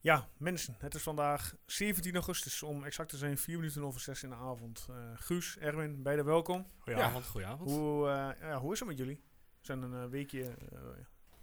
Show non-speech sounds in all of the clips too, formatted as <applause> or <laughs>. Ja, mensen, het is vandaag 17 augustus om exact te zijn, 4 minuten over 6 in de avond. Eh, Guus, Erwin, beide welkom. Goedenavond, goedenavond. Hoe, eh, ja, hoe is het met jullie? We zijn een eh, weekje eh,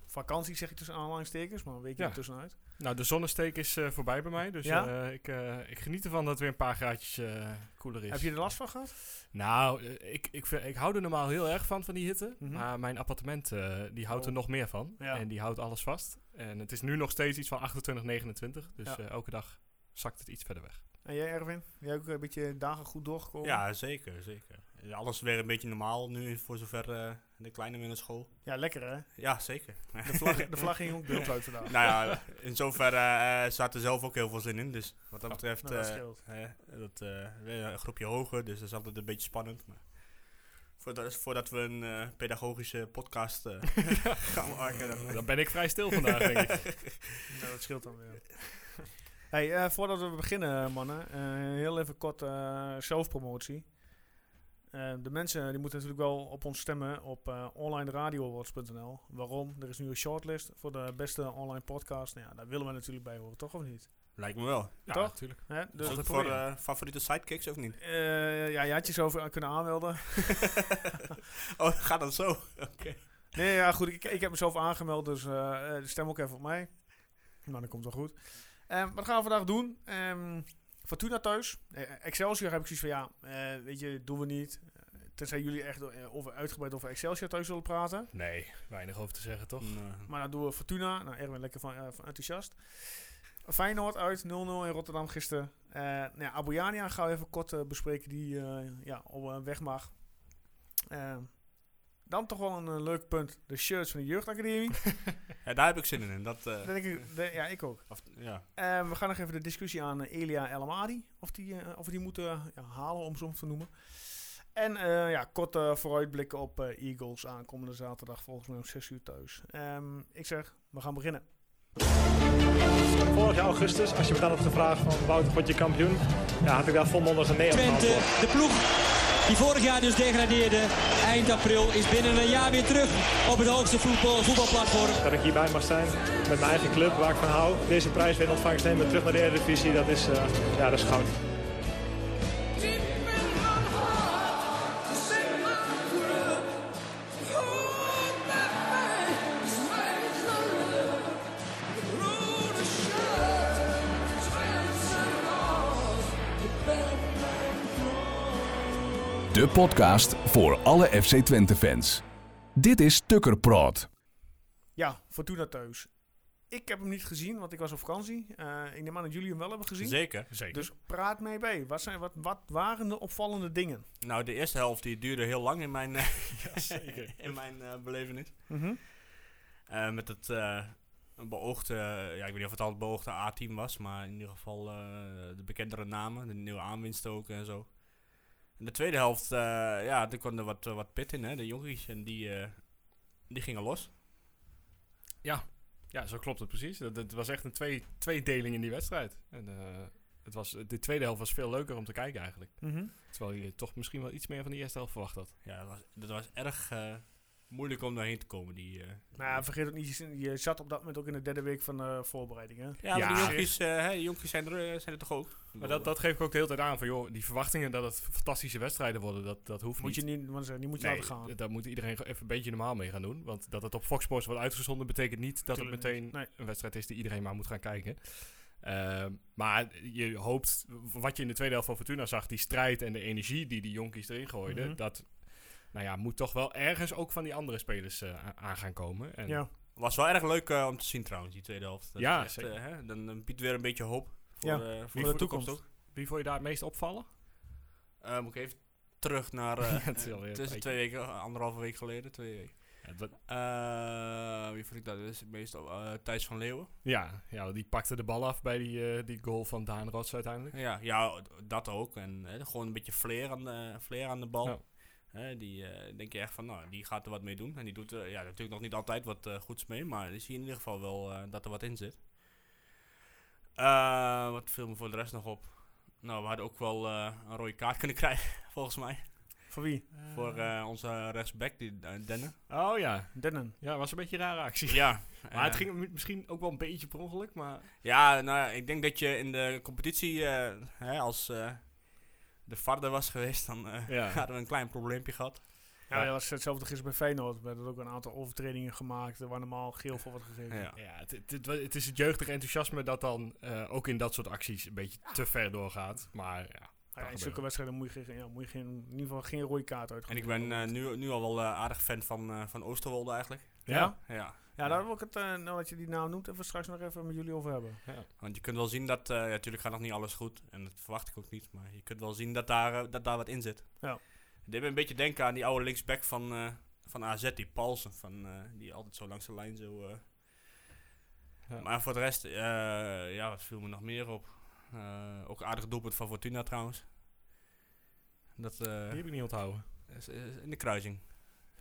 vakantie, zeg ik tussen aanhalingstekens, maar een weekje Ja. ertussenuit. Nou, de zonnesteek is eh, voorbij bij mij, dus Ja? eh, ik, eh, ik geniet ervan dat het weer een paar graadjes eh, koeler is. Heb je er last van gehad? Nou, eh, ik, ik, vind- ik hou er normaal heel erg van, van die hitte. Mhm. Maar mijn appartement, eh, die houdt er Oh. nog meer van. Ja. En die houdt alles vast. En het is nu nog steeds iets van 28, 29. Dus Ja. eh, elke dag zakt het iets verder <laughs> weg. En jij, Erwin? Jij ook een beetje dagen goed doorgekomen? Ja, zeker, zeker. Alles weer een beetje normaal nu voor zover eh, de kleine in de school. Ja, lekker hè? Ja, zeker. <laughs> De vlag, de vlag ging ook beeld uit vandaag. nou ja, in zoverre eh zat er zelf ook heel veel zin in. Dus wat dat Oh, betreft, nou, dat eh, scheelt. hè, dat, eh, weer een groepje hoger, dus dat is altijd een beetje spannend. Maar voordat, voordat we een eh, pedagogische <laughs> podcast eh, gaan maken, dan, eh, Dan ben ik vrij stil vandaag, denk <laughs> ik. Nou, dat scheelt dan weer. <laughs> Hey, eh, voordat we beginnen, mannen, eh, heel even kort eh, zelfpromotie. Eh, de mensen die moeten natuurlijk wel op ons stemmen op eh onlineradioawards.nl. Waarom? Er is nu een shortlist voor de beste online podcast. Nou ja, daar willen we natuurlijk bij horen, toch of niet? lijkt me wel. Ja, Toch? natuurlijk. Hè? Dus, Dus Altijd voor proberen. eh, favoriete sidekicks of niet? eh, ja, je had je zo voor- kunnen aanmelden. oh, <laughs> gaat dat zo? Nee, ja, goed. Ik, ik heb mezelf aangemeld, dus eh, eh, stem ook even op mij. Maar dat komt wel goed. Ehm, wat gaan we vandaag doen? Ehm, Fortuna thuis. Eh, Excelsior heb ik zoiets van, ja, eh, weet je, doen we niet. Eh, Tenzij jullie echt eh, over, uitgebreid over Excelsior thuis willen praten. Nee, weinig over te zeggen, toch? Nee. Maar dan doen we Fortuna. Nou, Erwin lekker van, eh, van enthousiast. Feyenoord uit, 0-0 in Rotterdam gisteren. Eh nou ja, Abouyania gaan we even kort eh, bespreken, die eh, ja, op eh, weg mag. Ehm, dan toch wel een eh, leuk punt, de shirts van de jeugdacademie. Ja, daar heb ik zin in. Dat, eh, Dat denk ik, de- ja, ik ook. of, ja. Eh, we gaan nog even de discussie aan eh, Elia El Amadi. Of, die, eh, of we die moeten ja, halen, om zo te noemen. En eh, ja, kort eh, vooruitblikken op eh, Eagles aankomende zaterdag. Volgens mij om 6 uur thuis. Ehm, ik zeg, we gaan beginnen. Vorig jaar augustus, als je me dan had gevraagd van Wouter, word je kampioen? Ja, had ik daar volmondig een nee op Twente, geantwoord. de ploeg die vorig jaar dus degradeerde, eind april is binnen een jaar weer terug op het hoogste voetbal, voetbalplatform. Dat ik hierbij mag zijn met mijn eigen club, waar ik van hou. Deze prijs weer in ontvangst nemen, terug naar de Eredivisie, dat is, eh, ja, dat is goud. De podcast voor alle FC Twente fans. Dit is Tukkerpraat. Ja, Fortuna thuis. Ik heb hem niet gezien, want ik was op vakantie. Eh, ik neem aan dat jullie hem wel hebben gezien. Zeker. Zeker. Dus praat mee bij. Wat, zijn, wat, wat waren de opvallende dingen? Nou, de eerste helft die duurde heel lang in <laughs> mijn, eh, zeker. <laughs> in mijn eh, belevenis. Eh, met het eh, beoogde, ja, ik weet niet of het al het beoogde A-team was, maar in ieder geval eh, de bekendere namen, de nieuwe aanwinsten ook en zo. In de tweede helft, eh, ja, er kwam er wat, eh, wat pit in, hè, de jonkies, en die, eh, die gingen los. Ja, zo klopt het precies. Dat- Het was echt een twee, tweedeling in die wedstrijd. En, eh, het was, de tweede helft was veel leuker om te kijken eigenlijk. Mhm. Terwijl je toch misschien wel iets meer van die eerste helft verwacht had. Ja, dat was, dat was erg eh, moeilijk om daarheen te komen. Die, eh, Maar Nou ja, vergeet ook niet, je- je zat op dat moment ook in de derde week van de voorbereiding. Hè? ja, maar Ja. die jonkies, eh, hè, die jonkies zijn, er, eh, zijn er toch ook? Maar dat, dat geef ik ook de hele tijd aan. Van, joh, die verwachtingen dat het fantastische wedstrijden worden, dat, dat hoeft Moet je niet. niet, want ze- die moet je Nee, laten gaan. d- daar moet iedereen gewoon even een beetje normaal mee gaan doen. Want dat het op Fox Sports wordt uitgezonden, betekent niet dat Tuurlijk het meteen niet. Nee. een wedstrijd is die iedereen maar moet gaan kijken. Ehm, maar je hoopt, wat je in de tweede helft van Fortuna zag, die strijd en de energie die die jonkies erin gooiden, Mhm. dat nou ja, moet toch wel ergens ook van die andere spelers eh, a- aan gaan komen. En Ja. Was wel erg leuk eh, om te zien trouwens, die tweede helft. Dat Ja, is echt, zeker. eh, hè, dan, dan biedt weer een beetje hoop voor, Ja, eh, voor de, toekomst. ook. Wie vond je daar het meest opvallen? Eh, moet ik even <laughs> terug naar... Ja, eh het is alweer een tijdje. tussen twee weken, eh, anderhalve week geleden, twee weken. Ja, dat- Eh, wie vond ik dat? Dat is meestal eh, Thijs van Leeuwen. ja, ja, die pakte de bal af bij die, eh, die goal van Daan Rots uiteindelijk. Ja, ja dat ook. En hè, gewoon een beetje flair aan de, flair aan de bal. Ja. Hè, die eh, denk je echt van, nou, die gaat er wat mee doen. En die doet er ja, natuurlijk nog niet altijd wat eh, goeds mee. Maar je ziet in ieder geval wel eh, dat er wat in zit. Eh, <laughs> wat viel me voor de rest nog op? Nou, we hadden ook wel eh, een rode kaart kunnen krijgen, volgens mij. Voor wie? Voor eh, onze rechtsback, die eh, Denne. Oh ja. Dennen. Ja, was een beetje een rare actie. Ja. Maar het eh, ging mi- misschien ook wel een beetje per ongeluk, maar... Ja, nou ja, ik denk dat je in de competitie, eh, hè, als eh, de varde was geweest, dan eh, Ja. <laughs> hadden we een klein probleempje gehad. Ja, dat was hetzelfde gisteren bij Feyenoord. We hebben ook een aantal overtredingen gemaakt eh, waar normaal geel voor wordt gegeven. Ja. Ja, het, het, het wa- het is het jeugdige enthousiasme dat dan eh, ook in dat soort acties een beetje te ver doorgaat. Maar ja, Ja, in gebeuren. zulke wedstrijden moet je, geen- ja, moet je geen, in ieder geval geen rode kaart uit. En ik ben eh, nu, nu al wel eh, aardig fan van, eh, van Oosterwolde eigenlijk. Ja? Ja. Ja, daar wil ik het, eh, nou dat je die naam noemt, even straks nog even met jullie over hebben. Want je kunt wel zien dat, eh, ja, natuurlijk gaat nog niet alles goed. En dat verwacht ik ook niet. Maar je kunt wel zien dat daar, eh, dat daar wat in zit. Ja. Het deed me een beetje denken aan die oude linksback van, eh, van AZ, die Paulsen. Van, eh, die altijd zo langs de lijn zo... eh. Ja. Maar voor de rest, eh, ja, wat viel me nog meer op? Eh, ook aardig doelpunt van Fortuna trouwens. Dat eh, die heb ik niet onthouden. is- is in de kruising.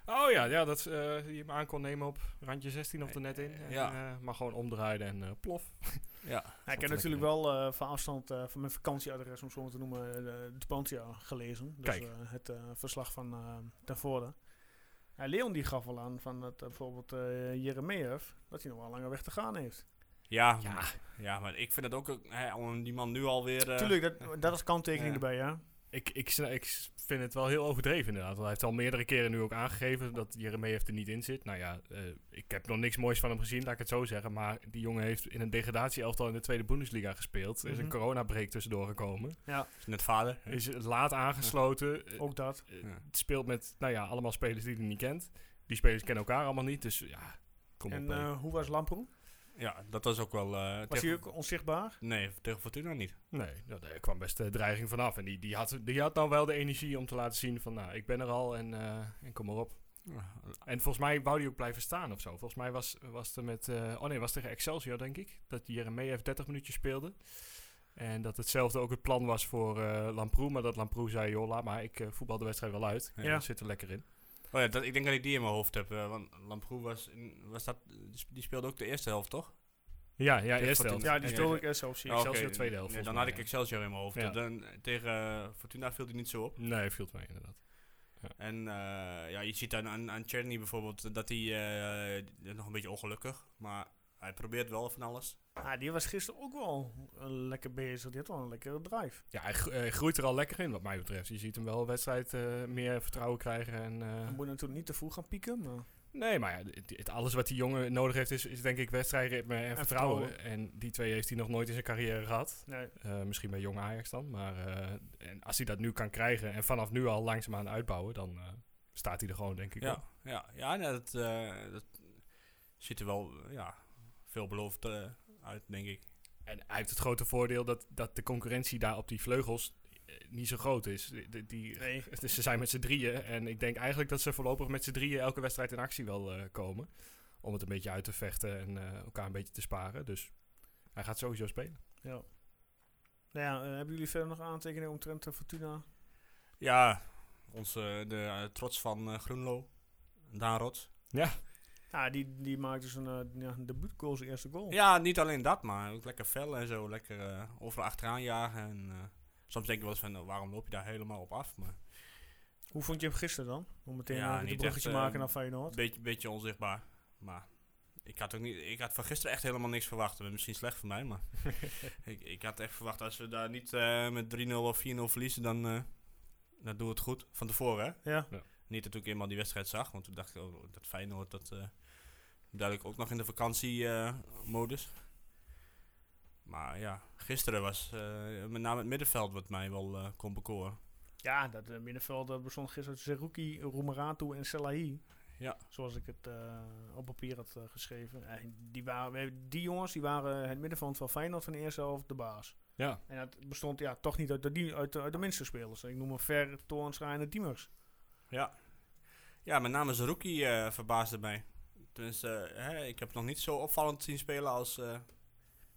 Oh ja, ja dat eh, je hem aan kon nemen op randje 16 of er net in. En, Ja. eh, maar gewoon omdraaien en eh, plof. Ja, Ja, ik heb lekker, natuurlijk hè? wel eh, van afstand eh, van mijn vakantieadres, om het zo maar te noemen, eh, de Dupantia gelezen. Dus Kijk. eh, het eh, verslag van eh daarvoor. Ja, Leon die gaf wel aan van dat, eh, bijvoorbeeld eh Jeremejev, dat hij nog wel een lange weg te gaan heeft. ja, ja. maar ik vind het ook... eh, hè, om die man nu alweer... eh, Tuurlijk, dat, dat is kanttekening Ja. Eh, erbij, ja. Ik, ik, sna- ik s- vind het wel heel overdreven inderdaad. Want hij heeft al meerdere keren nu ook aangegeven dat Jeremejeff er niet in zit. Nou ja, eh, ik heb nog niks moois van hem gezien, laat ik het zo zeggen. Maar die jongen heeft in een degradatieelftal in de tweede Bundesliga gespeeld. Er is een Mhm. coronabreak tussendoor gekomen. is net vader. Is laat aangesloten. Eh, Ook dat. eh, Ja. Speelt met, nou ja, allemaal spelers die hij niet kent. Die spelers kennen elkaar allemaal niet, dus ja, kom En op. hè. eh, hoe was Lamproe? Ja, dat was ook wel... eh, Was tegen- hij ook onzichtbaar? Nee, tegen Fortuna niet. Nee, nou, daar kwam best de dreiging vanaf. En die, die, had, die had nou wel de energie om te laten zien van, nou, ik ben er al en, eh, en kom maar op. En volgens mij wou die ook blijven staan of zo. Volgens mij was, was er met, eh, oh nee, was tegen Excelsior denk ik, dat Jeremie heeft 30 minuutjes speelde. En dat hetzelfde ook het plan was voor eh Lamproe, maar dat Lamproe zei, joh, laat maar, ik eh, voetbal de wedstrijd wel uit. Ja. Ja. Zit er lekker in. Oh ja, dat, ik denk dat ik die in mijn hoofd heb. eh, want Lamproe was, in- was dat, die speelde ook de eerste helft, toch? Ja, ja, Tegen eerste Fortuna. helft. Ja, die Ja, speelde ja. ik eerst zelfs hier. Ja. Excelsior tweede helft, Ja, dan volgens had mij, ik ja. Excelsior in mijn hoofd. Ja. Dan, tegen eh, Fortuna viel die niet zo op. Nee, viel het mee inderdaad. En eh, ja, je ziet aan, aan, aan Czerny bijvoorbeeld dat hij eh, die is nog een beetje ongelukkig. Maar hij probeert wel van alles. Ah, die was gisteren ook wel eh, lekker bezig. Die had wel een lekkere drive. Ja, hij gro- eh, groeit er al lekker in wat mij betreft. Je ziet hem wel wedstrijd eh, meer vertrouwen krijgen en... eh, Hij moet natuurlijk niet te vroeg gaan pieken, maar... Nee, maar ja, het- het- alles wat die jongen nodig heeft is, is denk ik wedstrijdritme en, eh, En vertrouwen. vertrouwen. En die twee heeft hij nog nooit in zijn carrière gehad. Nee. Eh, misschien bij jonge Ajax dan. Maar eh, en als hij dat nu kan krijgen en vanaf nu al langzaamaan uitbouwen, dan eh, staat hij er gewoon denk ik Ja, op. ja, ja nee, dat, eh, dat ziet er wel ja, veelbelovend eh, uit, denk ik. En hij heeft het grote voordeel dat, dat de concurrentie daar op die vleugels eh, niet zo groot is. Die- Die, die- Nee. dus <laughs> ze zijn met z'n drieën en ik denk eigenlijk dat ze voorlopig met z'n drieën elke wedstrijd in actie wel eh, komen. Om het een beetje uit te vechten en eh, elkaar een beetje te sparen. Dus hij gaat sowieso spelen. Ja. Nou ja, eh, hebben jullie verder nog aantekeningen omtrent eh, Fortuna? Ja, onze, de eh, trots van eh, Groenlo. Daan Rots. Ja, die, die maakt dus een eh, ja, een debuutgoal, zijn eerste goal. Ja, niet alleen dat, maar ook lekker fel en zo. Lekker eh overal achteraan jagen. En, eh, soms denk ik wel eens van, nou, waarom loop je daar helemaal op af? Maar Hoe vond je hem gisteren dan? Om meteen Ja, even niet een echt, bruggetje eh, maken naar een Feyenoord. beetje, beetje onzichtbaar. Maar ik had, ook niet, ik had van gisteren echt helemaal niks verwacht. Dat is Misschien slecht voor mij, maar ik, ik had echt verwacht... als we daar niet eh, met 3-0 of 4-0 verliezen, dan, eh dan doen we het goed. Van tevoren, hè? Ja. Niet dat ik eenmaal die wedstrijd zag, want toen dacht ik oh, dat Feyenoord dat eh, duidelijk ook nog in de vakantiemodus. maar ja, gisteren was eh, met name het middenveld wat mij wel eh, kon bekoren. ja, dat eh, middenveld dat bestond gisteren uit Zerouki, Roemeratu en Selahi. Ja. Zoals ik het eh, op papier had eh, geschreven. Eh, die, waren, die jongens die waren het middenveld van Feyenoord van de eerste helft de baas. Ja, En dat bestond ja, toch niet uit de, die- uit de, uit de minste spelers. Ik noem hem Ver, Toornstra en de Diemers. Ja, ja met name Zerouki eh, verbaasde mij. Tenminste, eh, hè, ik heb hem nog niet zo opvallend zien spelen als... eh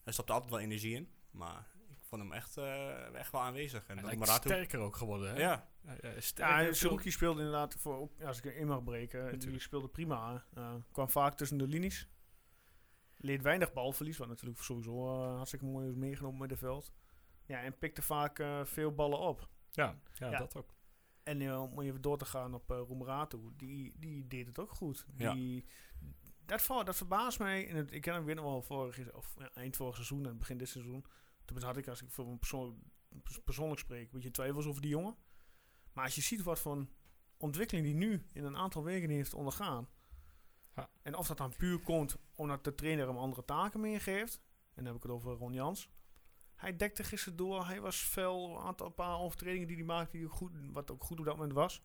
hij stopte altijd wel energie in, maar ik vond hem echt, eh, echt wel aanwezig. En hij dan lijkt Maratu. sterker ook geworden. Hè? Ja, Hij- hij is sterker. Ja, Zerouki speelde inderdaad, voor, ook- als ik erin mag breken, eh, die Natuurlijk. speelde prima. eh, kwam vaak tussen de linies. Leed weinig balverlies, wat natuurlijk sowieso eh, hartstikke mooi is meegenomen met de veld. Ja, en pikte vaak eh, veel ballen op. Ja, ja, Ja. dat ook. En eh, om even door te gaan op eh Roemerato, die, die deed het ook goed. Ja. Die, dat, val- dat verbaast mij. En het, ik ken hem weer nog wel vorig, of, ja, eind vorig seizoen en begin dit seizoen. Toen had ik, als ik voor mijn persoonlijk, pers- persoonlijk spreek, een beetje twijfels over die jongen. Maar als je ziet wat voor een ontwikkeling die nu in een aantal weken heeft ondergaan. Ja. En of dat dan puur komt omdat de trainer hem andere taken meegeeft. En dan heb ik het over Ron Jans. Hij dekte gisteren door. Hij was fel. Een aantal een paar overtredingen die hij maakte. Die ook goed, wat ook goed op dat moment was.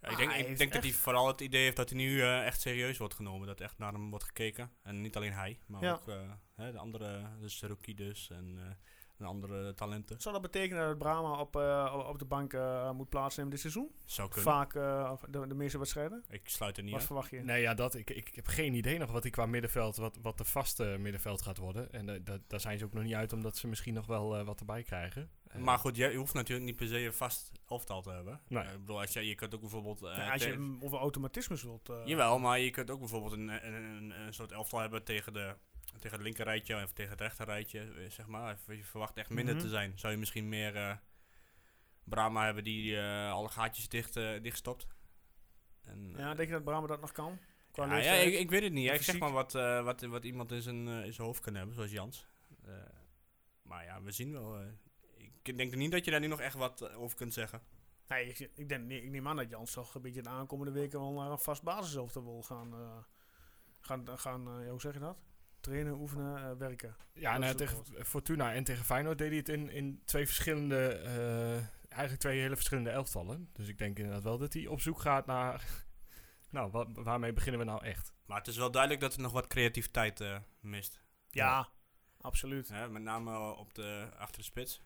Ja, Ah, ik denk, hij ik heeft denk dat hij echt- vooral het idee heeft dat hij nu eh, echt serieus wordt genomen. Dat echt naar hem wordt gekeken. En niet alleen hij, maar Ja. ook eh, hè, de andere, dus rookie dus en, eh, en andere talenten. Zou dat betekenen dat Brahma op, eh, op de bank eh, moet plaatsnemen dit seizoen? Zou kunnen. Vaak eh, of de, de meeste wedstrijden. ik sluit er niet Wat uit. verwacht je? Nee, ja, dat, ik, ik heb geen idee nog wat die qua middenveld, wat, wat de vaste middenveld gaat worden. En eh, dat, daar zijn ze ook nog niet uit, omdat ze misschien nog wel eh, wat erbij krijgen. Eh, Maar goed, je, je hoeft natuurlijk niet per se een vast elftal te hebben. Nee. Eh, ik bedoel, als je, je kunt ook bijvoorbeeld... eh, Nou, als je tegen- hem over automatismes wilt. eh, Jawel, maar je kunt ook bijvoorbeeld een, een, een, een soort elftal hebben tegen, de, tegen het linkerrijtje of tegen het rechterrijtje, eh, zeg maar. Je verwacht echt minder Mhm. te zijn. Zou je misschien meer eh Brahma hebben die eh, alle gaatjes dicht, eh, dichtstopt? En, eh, Ja, denk je dat Brahma dat nog kan? Qua ja, ja, leeftijd? ik, ik weet het niet. Ik zeg fysiek? maar wat, eh, wat, wat iemand in zijn, eh, in zijn hoofd kan hebben, zoals Jans. Eh, maar ja, we zien wel. eh. ik denk niet dat je daar nu nog echt wat eh, over kunt zeggen. Nee, ik, ik, denk, nee, ik neem aan dat Jans toch een beetje de aankomende weken wel naar een vast basishoofd wil gaan. eh, gaan, gaan eh, ja, hoe zeg je dat? Trainen, oefenen, eh, werken. Ja, Dat nou, is ook tegen Fortuna en tegen Feyenoord deed hij het in, in twee verschillende, eh, eigenlijk twee hele verschillende elftallen. Dus ik denk inderdaad wel dat hij op zoek gaat naar, <laughs> nou, wa- waarmee beginnen we nou echt? Maar het is wel duidelijk dat er nog wat creativiteit eh, mist. Ja, Ja. absoluut. Hè, met name eh, op de, achter de spits.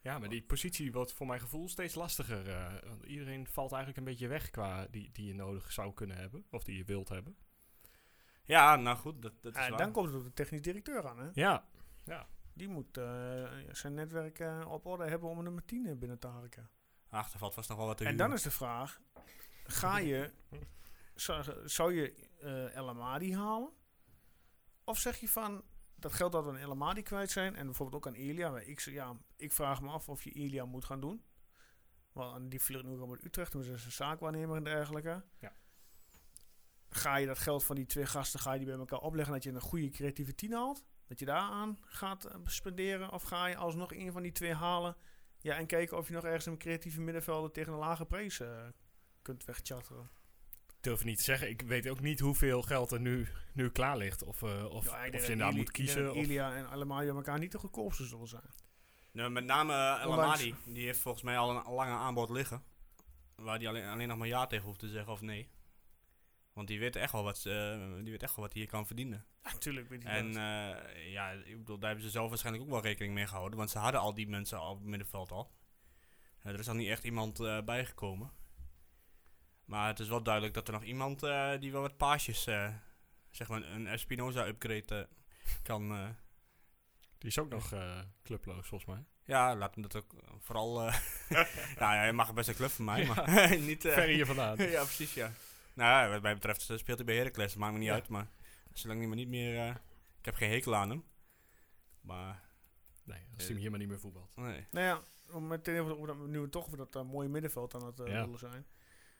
Ja, maar die positie wordt voor mijn gevoel steeds lastiger. eh, want iedereen valt eigenlijk een beetje weg qua die, die je nodig zou kunnen hebben, of die je wilt hebben. Ja, nou goed, dat, dat is En waar. dan komt het op de technisch directeur aan. Hè? Ja, Die moet eh, zijn netwerk eh, op orde hebben om een nummer 10 binnen te harken. Ach, er valt vast nog wel wat te En huren. dan is de vraag: ga je, <laughs> zou, zou je eh El Amadi halen? Of zeg je van dat geld dat we aan El Amadi kwijt zijn en bijvoorbeeld ook aan Elia? maar Ik, z- ja, ik vraag me af of je Elia moet gaan doen. Want die vliegt nu ook al met Utrecht, toen is een zaakwaarnemer en dergelijke. Ja. Ga je dat geld van die twee gasten ga je die bij elkaar opleggen dat je een goede creatieve tien haalt? Dat je daaraan gaat eh, spenderen? Of ga je alsnog een van die twee halen ja, en kijken of je nog ergens een creatieve middenvelder tegen een lage prijs eh, kunt wegchatteren. Ik durf het niet te zeggen. Ik weet ook niet hoeveel geld er nu, nu klaar ligt. Of, eh, of, Ja, ik denk of dat je inderdaad Ili- moet ik denk kiezen. dat Of, Ilia en Alemania elkaar niet de goedkoopste zullen zijn. Nou, met name eh, El Ondanks- Amadi, die heeft volgens mij al een lange aanbod liggen. Waar die alleen, alleen nog maar ja tegen hoeft te zeggen of nee. Want die weet echt wel wat, ze, eh, die weet echt wel wat hij hier kan verdienen. Natuurlijk weet En eh, ja, ik bedoel, daar hebben ze zelf waarschijnlijk ook wel rekening mee gehouden. Want ze hadden al die mensen al op het middenveld al. Eh, er is dan niet echt iemand eh, bijgekomen. Maar het is wel duidelijk dat er nog iemand eh, die wel wat paasjes, eh, zeg maar een Espinoza-upgrade eh, kan. eh, die is ook nog eh, clubloos, volgens mij. ja, laat hem dat ook eh, vooral. eh, <laughs> nou ja, hij mag best een club van mij, Ja. maar <laughs> niet. eh, Ver hier vandaan. <laughs> ja, precies, ja. Nou ja, wat mij betreft eh, speelt hij bij Heracles. Dat maakt me niet Ja. uit, maar zolang hij maar niet meer... eh, ik heb geen hekel aan hem. Maar, Nee, als hij hier maar niet meer voetbalt. nee. Nou ja, om meteen over, over dat, nu we toch over dat eh, mooie middenveld aan het eh, Ja. willen zijn.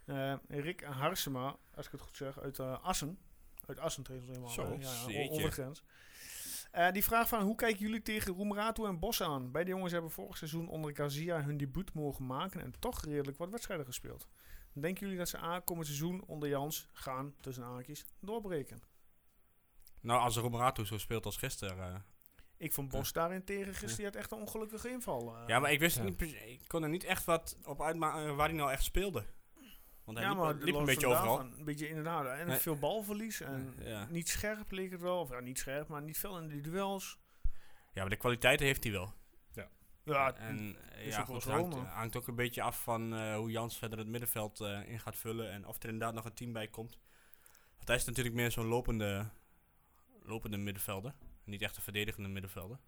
Eh, Rick Harsema, als ik het goed zeg, uit eh, Assen. Uit Assen trainen ze helemaal. Zo, hè? ja, ja, o- jeetje. over de grens. Eh, die vraag van, hoe kijken jullie tegen Roemerato en Bos aan? Beide jongens hebben vorig seizoen onder Garcia hun debuut mogen maken en toch redelijk wat wedstrijden gespeeld. Denken jullie dat ze aankomend seizoen onder Jans gaan, tussen haakjes, doorbreken? Nou, als Romerato zo speelt als gisteren... eh. Ik vond Bos daarentegen gisteren, die had echt een ongelukkige inval. eh. ja, maar ik wist ja. niet... precies- Ik kon er niet echt wat op uitmaken waar hij nou echt speelde. Want hij ja, liep, maar liep een los beetje vandaag overal. van Een beetje inderdaad. En Nee. veel balverlies. En Ja. niet scherp leek het wel. Of ja, niet scherp, maar niet veel in die duels. Ja, maar de kwaliteiten heeft hij wel. Ja, en eh, is ja, ook wel goed, zo, het hangt, maar- hangt ook een beetje af van eh, hoe Jans verder het middenveld eh, in gaat vullen. En of er inderdaad nog een team bij komt. Want hij is natuurlijk meer zo'n lopende, lopende middenvelder. Niet echt een verdedigende middenvelder.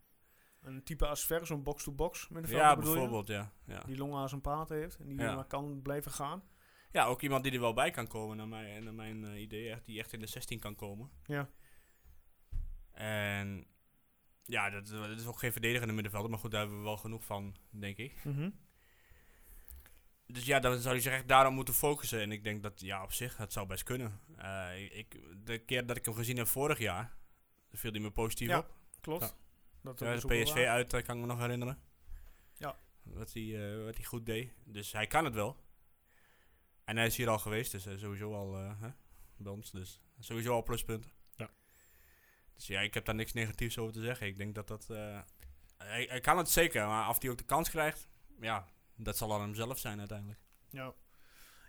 een type als ver, zo'n box-to-box middenvelder Ja, bedoel je? bijvoorbeeld, ja, ja. Die longen als een paard heeft. En die Ja. maar kan blijven gaan. Ja, ook iemand die er wel bij kan komen, naar mijn, naar mijn eh, idee. Echt, die echt in de 16 kan komen. Ja. En ja, dat, dat is ook geen verdedigende middenvelder. Maar goed, daar hebben we wel genoeg van, denk ik. Dus ja, dan zou hij zich echt daarop moeten focussen. En ik denk dat, ja, op zich, dat zou best kunnen. Eh, ik, de keer dat ik hem gezien heb vorig jaar, viel hij me positief Ja, op. Klopt. Ja. Dat Ja, is de ook wel PSV waar. uit, eh, kan ik me nog herinneren. Ja. Wat hij, eh, wat hij goed deed. Dus hij kan het wel. En hij is hier al geweest, dus eh, sowieso al eh, hè, bij ons. Dus sowieso al pluspunten. Ja. Dus ja, ik heb daar niks negatiefs over te zeggen. Ik denk dat dat... eh, hij, hij kan het zeker, maar of hij ook de kans krijgt... Ja, dat zal aan hem zelf zijn uiteindelijk. Ja.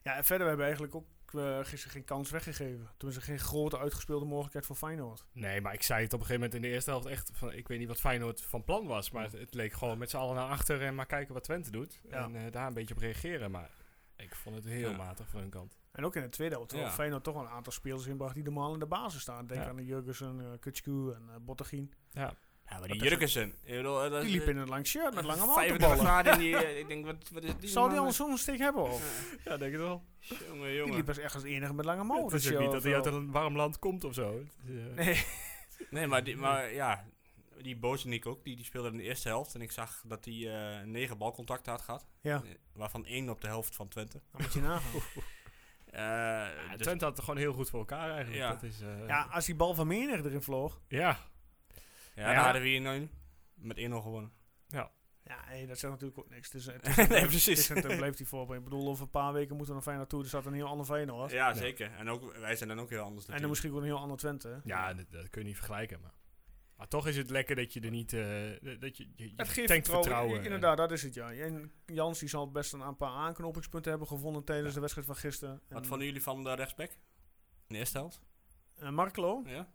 ja, en verder hebben we eigenlijk ook eh, gisteren geen kans weggegeven. Tenminste, geen grote uitgespeelde mogelijkheid voor Feyenoord. Nee, maar ik zei het op een gegeven moment in de eerste helft echt. Van, ik weet niet wat Feyenoord van plan was. Maar het, het leek gewoon met z'n allen naar achter en maar kijken wat Twente doet. Ja. En eh, daar een beetje op reageren. Maar ik vond het heel Ja. matig van hun kant. En ook in het tweede helft, terwijl Ja. Feyenoord toch wel een aantal spelers inbracht die normaal in de basis staan. Denk Ja. aan de Jurgensen, eh Kutschku en eh Bottegien. Ja, Ja, Nou, maar die die Jurkensen... ik bedoel, eh, dat- Die liep in een lang shirt met lange 35 mouwenballen. graden in die... eh, ik denk, wat, wat is <laughs> die Zou die man al zo'n steek hebben? Of? ja denk het wel. Jongen, Die jongen. liep als echt als enige met lange het mouwen. is ook niet dat hij uit een warm land komt of zo. Het is, eh, Nee. Nee, maar, die, maar ja, die Bozenik ook, die, die speelde in de eerste helft. En ik zag dat hij eh, negen balcontacten had gehad. Ja, eh, Waarvan één op de helft van Twente. dan moet je nagaan. Eh, ja, dus- Twente had het gewoon heel goed voor elkaar eigenlijk. Ja. Dat is, eh, Ja, als die bal van Menig erin vloog. ja, ja, ja. daar hadden we hier nu met 1-0 gewonnen. <laughs> Ja, hé, dat zegt natuurlijk ook niks. Het is, het is, Nee, precies. Het is, het blijft die voorbeeld. Ik bedoel, over een paar weken moeten we naar Feyenoord toe. Er staat een heel ander Feyenoord. Ja, zeker. En ook, wij zijn dan ook heel anders en dan natuurlijk. misschien ook een heel ander Twente. hè. Ja, dat, dat kun je niet vergelijken. Maar, maar toch is het lekker dat je er niet. eh, dat je, je, je Het geeft tankt vertrouwen. vertrouwen. eh. Inderdaad, dat is het ja. En Jans die zal best een paar aanknopingspunten hebben gevonden tijdens de wedstrijd van gisteren. En, Wat vonden jullie van de rechtsback? In de eerste helft? en eh, Marklo? Ja?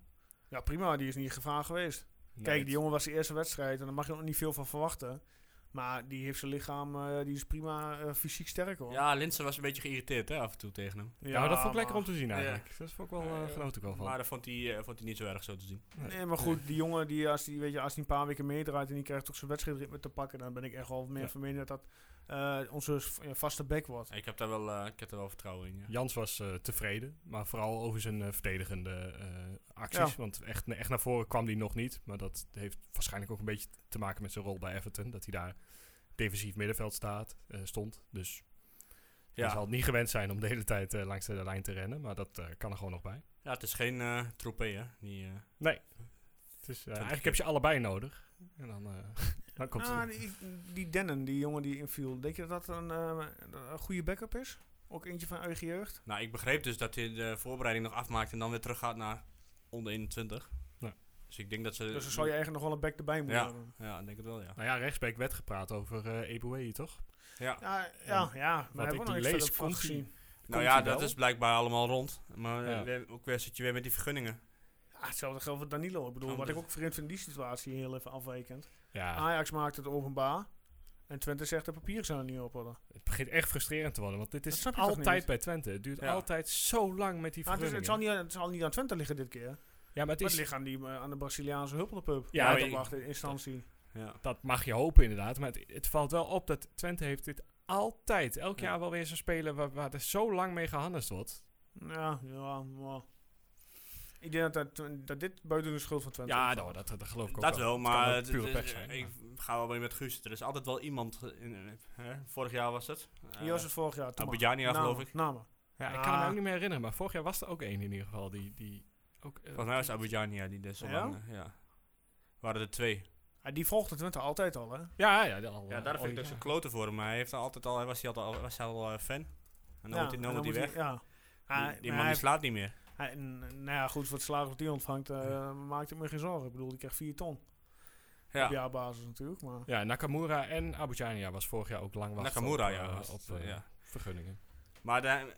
Ja, prima. Die is niet in gevaar geweest. Nee, Kijk, het- die jongen was de eerste wedstrijd en daar mag je nog niet veel van verwachten. Maar die heeft zijn lichaam, eh, die is prima eh, fysiek sterk hoor. ja, Linsen was een beetje geïrriteerd hè, af en toe tegen hem. Ja, maar dat vond ik lekker om te zien Ja. eigenlijk. Dat vond ik wel eh, Ja, ja. genoten ik wel van. Maar dat vond hij, eh, vond hij niet zo erg zo te zien. Nee, maar goed, die jongen die als die, weet je, als die een paar weken meedraait en die krijgt toch zijn wedstrijdritme te pakken, dan ben ik echt wel meer Ja. van mening dat dat eh, onze v- eh, vaste back wordt. Ik heb daar wel, eh, ik heb daar wel vertrouwen in. Ja. Jans was eh, tevreden, maar vooral over zijn eh, verdedigende eh, acties. Ja. Want echt, echt naar voren kwam die nog niet. Maar dat heeft waarschijnlijk ook een beetje te maken met zijn rol bij Everton. Dat hij daar defensief middenveld staat, eh, stond. Dus hij zal Ja. het niet gewend zijn om de hele tijd eh, langs de lijn te rennen. Maar dat eh, kan er gewoon nog bij. ja, het is geen eh troepé hè. Die, eh, Het is, eh, Twintig eigenlijk heb je allebei nodig. En dan, eh, <laughs> dan komt Ah, het. die, die Dennen, die jongen die inviel, denk je dat dat een, eh, een goede backup is? Ook eentje van eigen Eh, jeugd? Nou, ik begreep dus dat hij de voorbereiding nog afmaakt en dan weer terug gaat naar onder 21. Ja. Dus ik denk dat ze. Dus dan zou je eigenlijk nog wel een back erbij moeten Ja. hebben. Ja, ik denk het wel, ja. Nou ja, rechtsback werd gepraat over eh Eboué, toch? ja. Ja, ja, ja maar wat hebben ik we nog lees, niks verder van komt gezien. Nou hij ja, dat wel? is blijkbaar allemaal rond. Maar eh, Ja. weer- ook weer zit je weer met die vergunningen. Ja, hetzelfde geldt voor Danilo. Ik bedoel, Nou, wat ik dat- ook vreemd vind in die situatie, heel even afwijkend. Ja, Ajax maakt het openbaar. En Twente zegt de papieren zijn er niet op. Hadden. het begint echt frustrerend te worden. Want dit Dat is snap je toch altijd niet? bij Twente. Het duurt Ja. altijd zo lang met die Maar Nou, het, is, vergunningen. het, zal niet, aan- het zal niet aan Twente liggen dit keer. Maar ja, maar het het is, ligt aan, die, eh, aan de Braziliaanse huppelpub. Ja, Ja, maar dat ik- mag de instantie. Ja. dat mag je hopen inderdaad. Maar het, het valt wel op dat Twente heeft dit altijd. Elk Ja. jaar wel weer zo'n speler waar, waar er zo lang mee gehandeld wordt. Ja, ja, maar... Ik denk dat, dat, Twen- dat dit buiten de schuld van Twente Ja, is. nou, dat, dat geloof ik ook Ah, Dat wel. wel, Het kan maar ook het- pure het- pech zijn. ik maar- ga wel mee met Guus. Er is altijd wel iemand. In, eh, hè, vorig jaar was het. Eh, Hier was het vorig jaar. Toen Abidjania, maar. geloof Namen, ik. Namen. ja, ik kan me Ah. ook niet meer herinneren. Maar vorig jaar was er ook één in ieder geval. Die, die ook, eh, Volgens mij was het Abidjania die dus zo Ja? lang, eh, ja. Waren er twee. Ja, die volgde Twente altijd al, hè? ja, ja, die al- Ja, daar al vind ik die dus een jaren. klote voor hem. Maar hij, heeft al altijd al, hij was, hij al, was hij al eh, fan. En dan ja, moet hij, en dan moet hij weg. Ja. Ah, die die maar man hij- die slaat niet meer. Hij, n- nou ja, goed, voor het salaris dat hij ontvangt, eh, maakt het me geen zorgen. Ik bedoel, die krijgt 4 ton. Op Ja. jaarbasis natuurlijk, maar... Ja, Nakamura en Abujania was vorig jaar ook lang wachten Nakamura, op, ja, eh, was op het, eh, eh, ja. vergunningen. Maar de-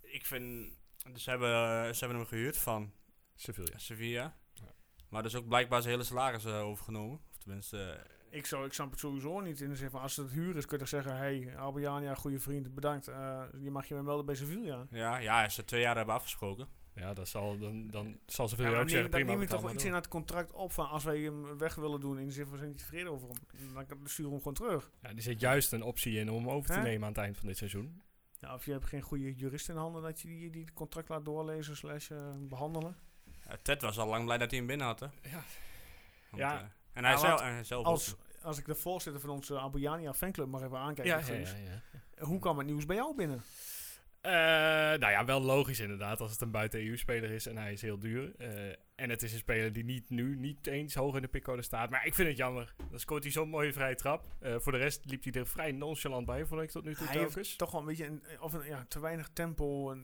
ik vind. Ze hebben, eh, ze hebben hem gehuurd van Sevilla. Sevilla. Ja. Maar dus ook blijkbaar zijn hele salaris eh, overgenomen. Of tenminste. eh, Ik, zou, ik snap het sowieso niet in de zin van, als het huur is, kun je toch zeggen... hey, Albania, goede vriend, bedankt. Eh, je mag je melden bij Sevilla. ja, ja, als ze twee jaar hebben afgesproken. Ja, dat zal, dan, dan zal Ja, Sevilla maar ook neem, daar zeggen, prima, neem je betaal toch wel maar iets door. in het contract op van... als wij hem weg willen doen, in de zin van, we zijn niet tevreden over hem. Dan kan- sturen we hem gewoon terug. Ja, er zit juist een optie in om hem over te Hè? nemen aan het eind van dit seizoen. Ja, of je hebt geen goede jurist in handen dat je die, die het contract laat doorlezen slash eh, behandelen. Ja, Ted was al lang blij dat hij hem binnen had. Hè? Ja. Want, Ja. eh, en hij Ja, zelf, want en hij zelf Als, ook. als ik de voorzitter van onze Albania fanclub mag even aankijken. ja, Guus. ja, ja. Hoe kwam het nieuws bij jou binnen? Eh, nou ja, wel logisch inderdaad. Als het een buiten-EU-speler is en hij is heel duur. Eh, en het is een speler die niet nu niet eens hoog in de pickcode staat. Maar ik vind het jammer. Dan scoort hij zo'n mooie vrije trap. Eh, voor de rest liep hij er vrij nonchalant bij, vond ik tot nu toe Hij telkens. heeft toch wel een beetje een, eh, of een, ja, te weinig tempo. En,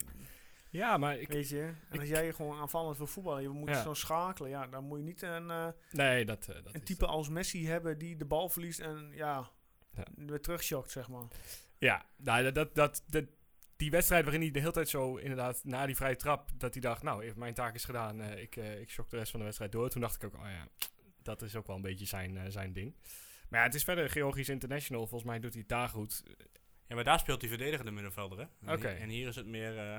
Ja, maar ik, weet je, en als jij gewoon aanvallend wil voetballen, je moet Ja. zo schakelen. Ja, dan moet je niet een, eh, nee, dat, eh, dat een is type als Messi hebben die de bal verliest en ja, Ja. weer terugschokt, zeg maar. Ja, nou, dat, dat, dat, dat- die wedstrijd waarin hij de hele tijd zo inderdaad na die vrije trap, dat hij dacht, nou, mijn taak is gedaan, eh, ik, eh ik shock de rest van de wedstrijd door. Toen dacht ik ook, oh ja, dat is ook wel een beetje zijn, eh, zijn ding. Maar ja, het is verder Georgisch International, volgens mij doet hij het daar goed. Ja, maar daar speelt hij verdedigende middenvelder, hè? En Oké. hier- En hier is het meer... eh,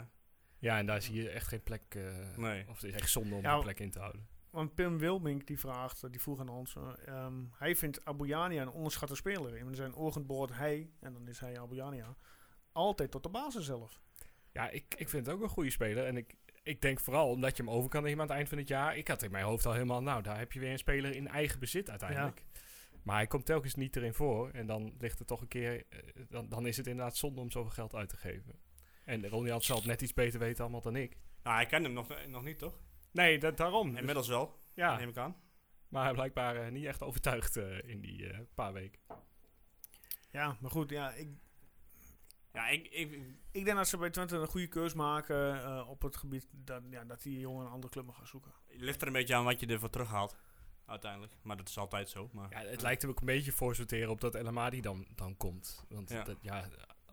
Ja, en daar is hier echt geen plek, eh, nee. of het is echt zonde om Ja, een plek in te houden. Want Pim Wilmink die vraagt, eh, die vroeg aan ons, eh, ehm, hij vindt Abouyania een onderschatte speler. In zijn ogen behoort hij, en dan is hij Abouyania, altijd tot de basis zelf. Ja, ik, ik vind het ook een goede speler en ik... Ik denk vooral omdat je hem over kan nemen aan het eind van het jaar. Ik had in mijn hoofd al helemaal, nou, daar heb je weer een speler in eigen bezit uiteindelijk. Maar hij komt telkens niet erin voor. En dan ligt het toch een keer. eh, Dan, dan is het inderdaad zonde om zoveel geld uit te geven. En Ronnie had zelf net iets beter weten allemaal dan ik. Nou, hij kent hem nog, nog niet, toch? Nee, dat, daarom. Inmiddels wel, ja, neem ik aan. maar hij blijkbaar eh, niet echt overtuigd eh, in die eh, paar weken. Ja, maar goed, ja, ik, Ja, ik, ik, ik denk dat ze bij Twente een goede keus maken eh, op het gebied dat, ja, dat die jongen een andere club mag gaan zoeken. ligt er een beetje aan wat je ervoor terughaalt, uiteindelijk. Maar dat is altijd zo. Maar, Ja, het lijkt hem ook een beetje voor sorteren op dat El Amadi dan, dan komt. Want ja, Ja. dat, ja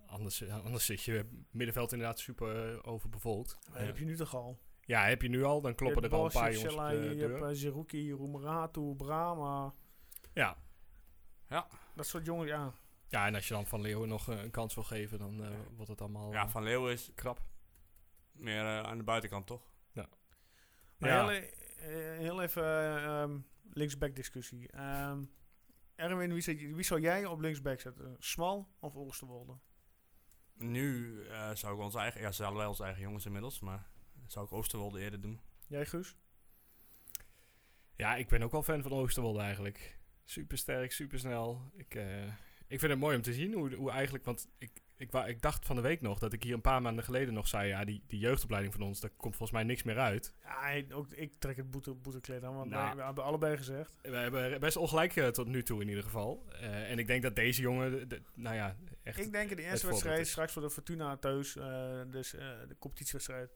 anders, eh, anders zit je middenveld inderdaad super eh, overbevolkt. Maar heb je nu toch al? Ja, heb je nu al, dan kloppen er al een paar jongens op de Je hebt deur. eh, Zerouki, Roemeratu, Brahma. Ja. Dat soort jongens, ja. ja, en als je dan Van Leeuwen nog eh, een kans wil geven, dan eh, wordt het allemaal ja, eh, Van Leeuwen is krap. meer eh, aan de buitenkant, toch? Maar Ja. heel, e- eh, heel even eh, ehm, linksback discussie. Ehm Erwin, wie, zet- wie zou jij op linksback zetten? Smal of Oosterwolde? Nu eh, zou ik ons eigen... Ja, ze hadden wij onze eigen jongens inmiddels, maar... Zou ik Oosterwolde eerder doen? Jij, Guus? Ja, ik ben ook wel fan van Oosterwolde eigenlijk. Supersterk, supersnel. Ik, eh, ik vind het mooi om te zien hoe, hoe eigenlijk... Want ik, ik, wa- ik dacht van de week nog dat ik hier een paar maanden geleden nog zei... Ja, die, die jeugdopleiding van ons, daar komt volgens mij niks meer uit. Ja, hij- ook, ik trek het boete, boetekleed aan, want Nou. wij- we hebben allebei gezegd. We hebben best ongelijk eh, tot nu toe in ieder geval. Eh, en ik denk dat deze jongen... de- de- nou ja, echt... ik denk in de eerste het voorbeeld wedstrijd, is. straks voor de Fortuna thuis, eh, dus eh, de competitiewedstrijd,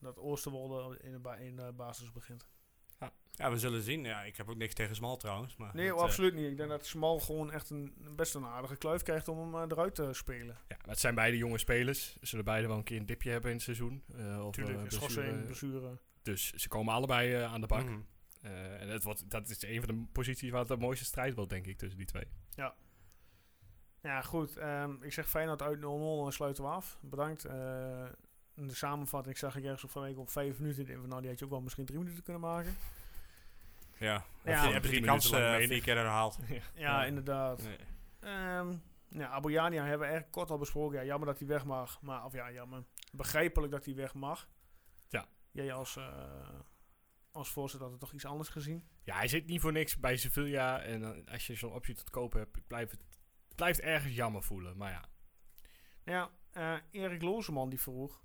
dat Oosterwolde in de, ba- in de basis begint. Ja, we zullen zien. Ja, ik heb ook niks tegen Smal trouwens, maar... Nee, dat, oh, eh, absoluut niet. Ik denk dat Smal gewoon echt een, best een aardige kluif krijgt om hem eh, eruit te spelen. Ja, maar het zijn beide jonge spelers. Ze zullen beide wel een keer een dipje hebben in het seizoen. eh of Natuurlijk, eh, schorsing, blessure. blessure. Dus ze komen allebei eh, aan de bak. mhm. Eh, en het wordt, dat is een van de posities waar het de mooiste strijd wordt, denk ik, tussen die twee. Ja, goed. ehm, ik zeg Feyenoord uit 0-0 en sluiten we af. Bedankt. Eh, in de samenvatting zag ik ergens op van week op vijf minuten. Ik denk van, Nou, die had je ook wel misschien drie minuten kunnen maken. Ja. Ja. Heb je, heb je Drie die kans minuten lang eh, menig. vier keer herhaald? Ja, Ja. inderdaad. Nee. Ehm ja, Abouyania hebben we eigenlijk kort al besproken. Ja, jammer dat hij weg mag. Maar, of ja, jammer. Begrijpelijk dat hij weg mag. Ja. Jij als, eh, als voorzitter had het toch iets anders gezien? Ja, hij zit niet voor niks bij Sevilla. En dan als je zo'n optie tot kopen hebt, ik blijf het, het blijft ergens jammer voelen. Maar ja, Nou Ja, eh, Erik Lozeman die vroeg...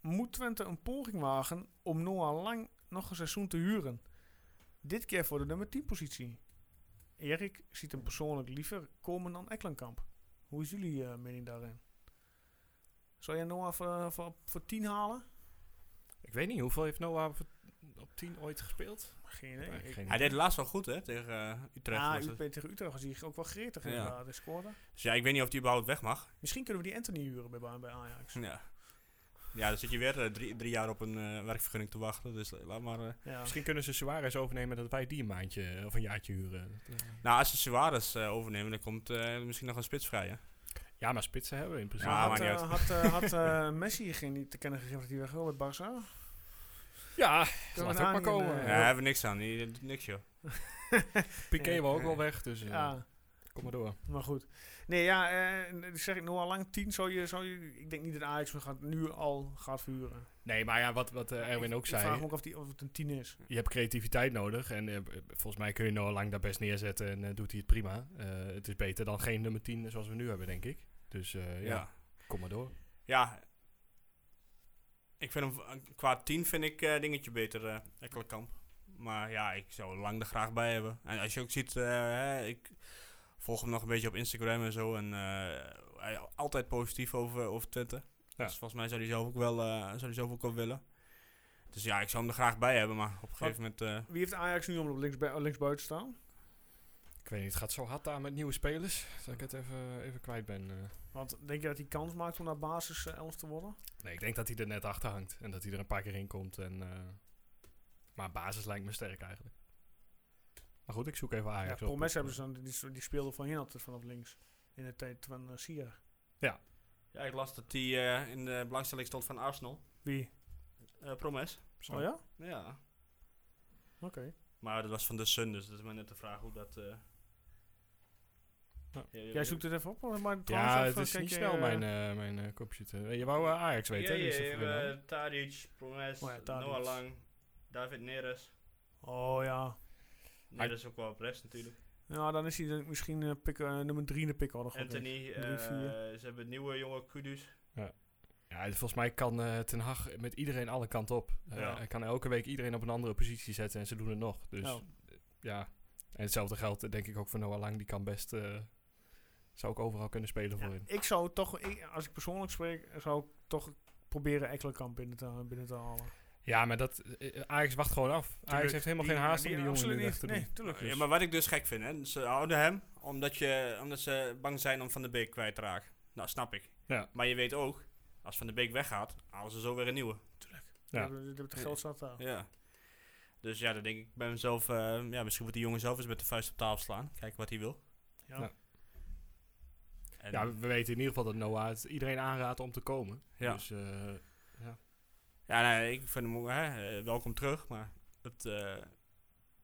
Moet Twente een poging wagen om Noah Lang nog een seizoen te huren? Dit keer voor de nummer 10 positie. Erik ziet hem persoonlijk liever komen dan Ekkelenkamp. Hoe is jullie eh, mening daarin? Zou jij Noah voor, eh, voor, voor 10 halen? ik weet niet, hoeveel heeft Noah op, op 10 ooit gespeeld? Geen idee. Ja, Ik- geen idee. Hij deed het laatst wel goed, hè? Tegen eh, Utrecht. ah, was het. Utrecht tegen Utrecht was hij ook wel gretig Ja. inderdaad. Hij scoorde. Dus ja, ik weet niet of die überhaupt weg mag. Misschien kunnen we die Anthony huren bij, bij Ajax. Ja. Ja, dan zit je weer eh, drie, drie jaar op een eh, werkvergunning te wachten. Dus eh, laat maar... eh, Ja. Misschien kunnen ze Suarez overnemen dat wij die een maandje eh, of een jaartje huren. Dat, eh, Nou, als ze Suarez eh, overnemen, dan komt eh, misschien nog een spits vrij, hè? Ja, maar spitsen hebben we in principe. Ja, had maakt niet eh, uit. had, eh, <laughs> had eh, Messi geen niet te kennen gegeven dat hij weg wil bij Barça? Ja, we laat daar het ook maar niet in, komen. Eh, eh, Ja, daar hebben we niks aan. Die doet niks, joh. Piqué Ja. wil ook wel weg, dus eh, Ja, kom maar door. maar goed. Nee, ja, eh, dat zeg ik nog al lang. Tien zou je, zou je... Ik denk niet dat Ajax hem gaat, nu al gaat verhuren. Nee, maar ja, wat, wat eh, Erwin ook Ik vraag zei, me ook of, die, of het een tien is. je hebt creativiteit nodig. En eh, b- volgens mij kun je Noah Lang daar best neerzetten en eh, doet hij het prima. Eh, het is beter dan geen nummer 10 zoals we nu hebben, denk ik. Dus eh, ja. Ja. Kom maar door. Ja. Ik vind hem, eh, qua team vind ik eh, dingetje beter, eh Ekkelenkamp. Maar ja, ik zou Lang er graag bij hebben. En als je ook ziet, eh, hè, ik volg hem nog een beetje op Instagram en zo. En eh, hij, altijd positief over, over Twente. Ja. Dus volgens mij zou hij zelf ook wel, eh, zou hij zelf ook wel willen. Dus ja, ik zou hem er graag bij hebben, maar op een gegeven moment... eh, Wie heeft Ajax nu om op links, buiten staan? Ik weet niet, het gaat zo hard aan met nieuwe spelers. Dat ik het even, even kwijt ben. eh. Want denk je dat hij kans maakt om naar basis eh, 11 te worden? Nee, ik denk dat hij er net achter hangt. En dat hij er een paar keer in komt. En, eh, maar basis lijkt me sterk eigenlijk. Maar goed, ik zoek even Ja, Ajax op. Promes hebben ze dan, die, die speelde van hier altijd vanaf links. In de tijd van eh, Sia. ja, ik las dat hij eh, in de belangstelling stond van Arsenal. Wie? Eh, Promes. Oh ja? Ja. Oké. Maar dat was van de Sun, dus dat is maar net de vraag hoe dat... eh, Ja. ja, Jij zoekt het even op? hoor, Maar trouwens Ja, even het is kijk niet je, snel eh, mijn, eh, mijn eh, computer. Eh, Je wou eh, Ajax weten, hè? Ja, dus ja, dat ja, vroeg ik we- aan. Tadic, Promes, Oh ja, Tadic. Noah Lang, David Neres. Oh ja. Neres ook wel op rechts natuurlijk. Ja, dan is hij dan misschien eh, pick, eh, nummer 3 in de pick al Anthony, Drie, eh, vier. ze hebben een nieuwe jonge Kudus. Ja, volgens mij kan eh, Ten Hag met iedereen alle kanten op. Eh, Ja. Hij kan elke week iedereen op een andere positie zetten en ze doen het nog. Dus Oh. eh, ja. En hetzelfde geldt eh, denk ik ook voor Noah Lang. Die kan best... eh, zou ook overal kunnen spelen Ja, voorin. ik zou toch, ik- als ik persoonlijk spreek, zou ik toch proberen Ekkelenkamp binnen te, binnen te halen. Ja, maar dat, eh, Ajax wacht gewoon af. Ajax heeft helemaal geen haast om die jongen nu absoluut weg niet. te doen. Nee, tuurlijk. Ja, maar wat ik dus gek vind, hè, ze houden hem omdat, je, omdat ze bang zijn om Van de Beek kwijt te raken. Nou, snap ik. Ja. Maar je weet ook, als Van de Beek weggaat, halen ze zo weer een nieuwe. Je Ja. hebt- je hebt het geld zat daar. Ja. Dus ja, dan denk ik bij mezelf, eh, ja, misschien moet die jongen zelf eens met de vuist op tafel slaan. Kijken wat hij wil. Ja. Ja. En- Ja, we we weten in ieder geval dat Noah het iedereen aanraadt om te komen. Ja. Dus eh, Ja, nee, ik vind hem ook, hè, eh, welkom terug, maar het, eh,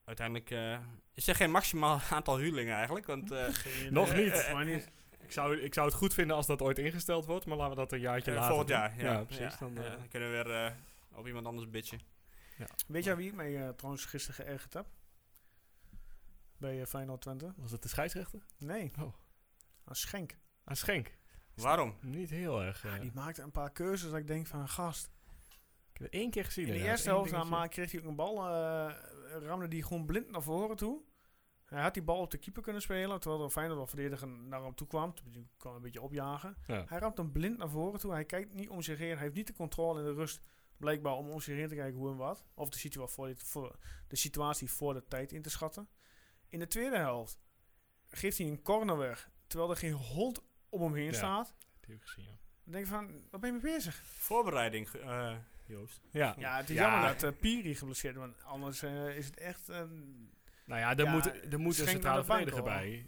uiteindelijk eh, is er geen maximaal <laughs> aantal huurlingen eigenlijk, <laughs> want eh, Nog niet. Maar niet. eh, ik, zou, ik zou het goed vinden als dat ooit ingesteld wordt, maar laten we dat een jaartje eh, later volgend doen. jaar, ja, precies. Dan, ja, eh, dan kunnen we weer eh, op iemand anders bitchen. Weet jij wie ik mij eh, trouwens gisteren geërgerd heb? Bij eh, Feyenoord Twente? Was het de scheidsrechter? Nee. Oh. Aan Schenk. Aan Schenk. Waarom? Niet heel erg. eh, Ah, Die maakte een paar keuzes dat ik denk van, gast. ik heb het één keer gezien. In de inderdaad. eerste Eén helft aan dingetje. Maak kreeg hij ook een bal. eh ramde die gewoon blind naar voren toe. Hij had die bal op de keeper kunnen spelen. Terwijl de Feyenoord wel verdediger naar hem toe kwam. Die kwam een beetje opjagen. Ja. Hij ramt hem blind naar voren toe. Hij kijkt niet om zich heen. Hij heeft niet de controle en de rust. Blijkbaar om om zich heen te kijken hoe en wat. Of de situatie voor, dit- voor- de, situatie voor de tijd in te schatten. In de tweede helft geeft hij een corner weg. Terwijl er geen hond om hem heen Ja. staat. Die heb ik gezien, ja. Dan denk ik van, waar ben je mee bezig? Voorbereiding, ge- eh, Joost. Ja. Ja, het is Ja. jammer dat eh, Piri geblesseerd is. Want anders eh, is het echt... eh, Nou ja, er Ja, moet, er moet een Schenk centrale naar de verdediger bank, bij.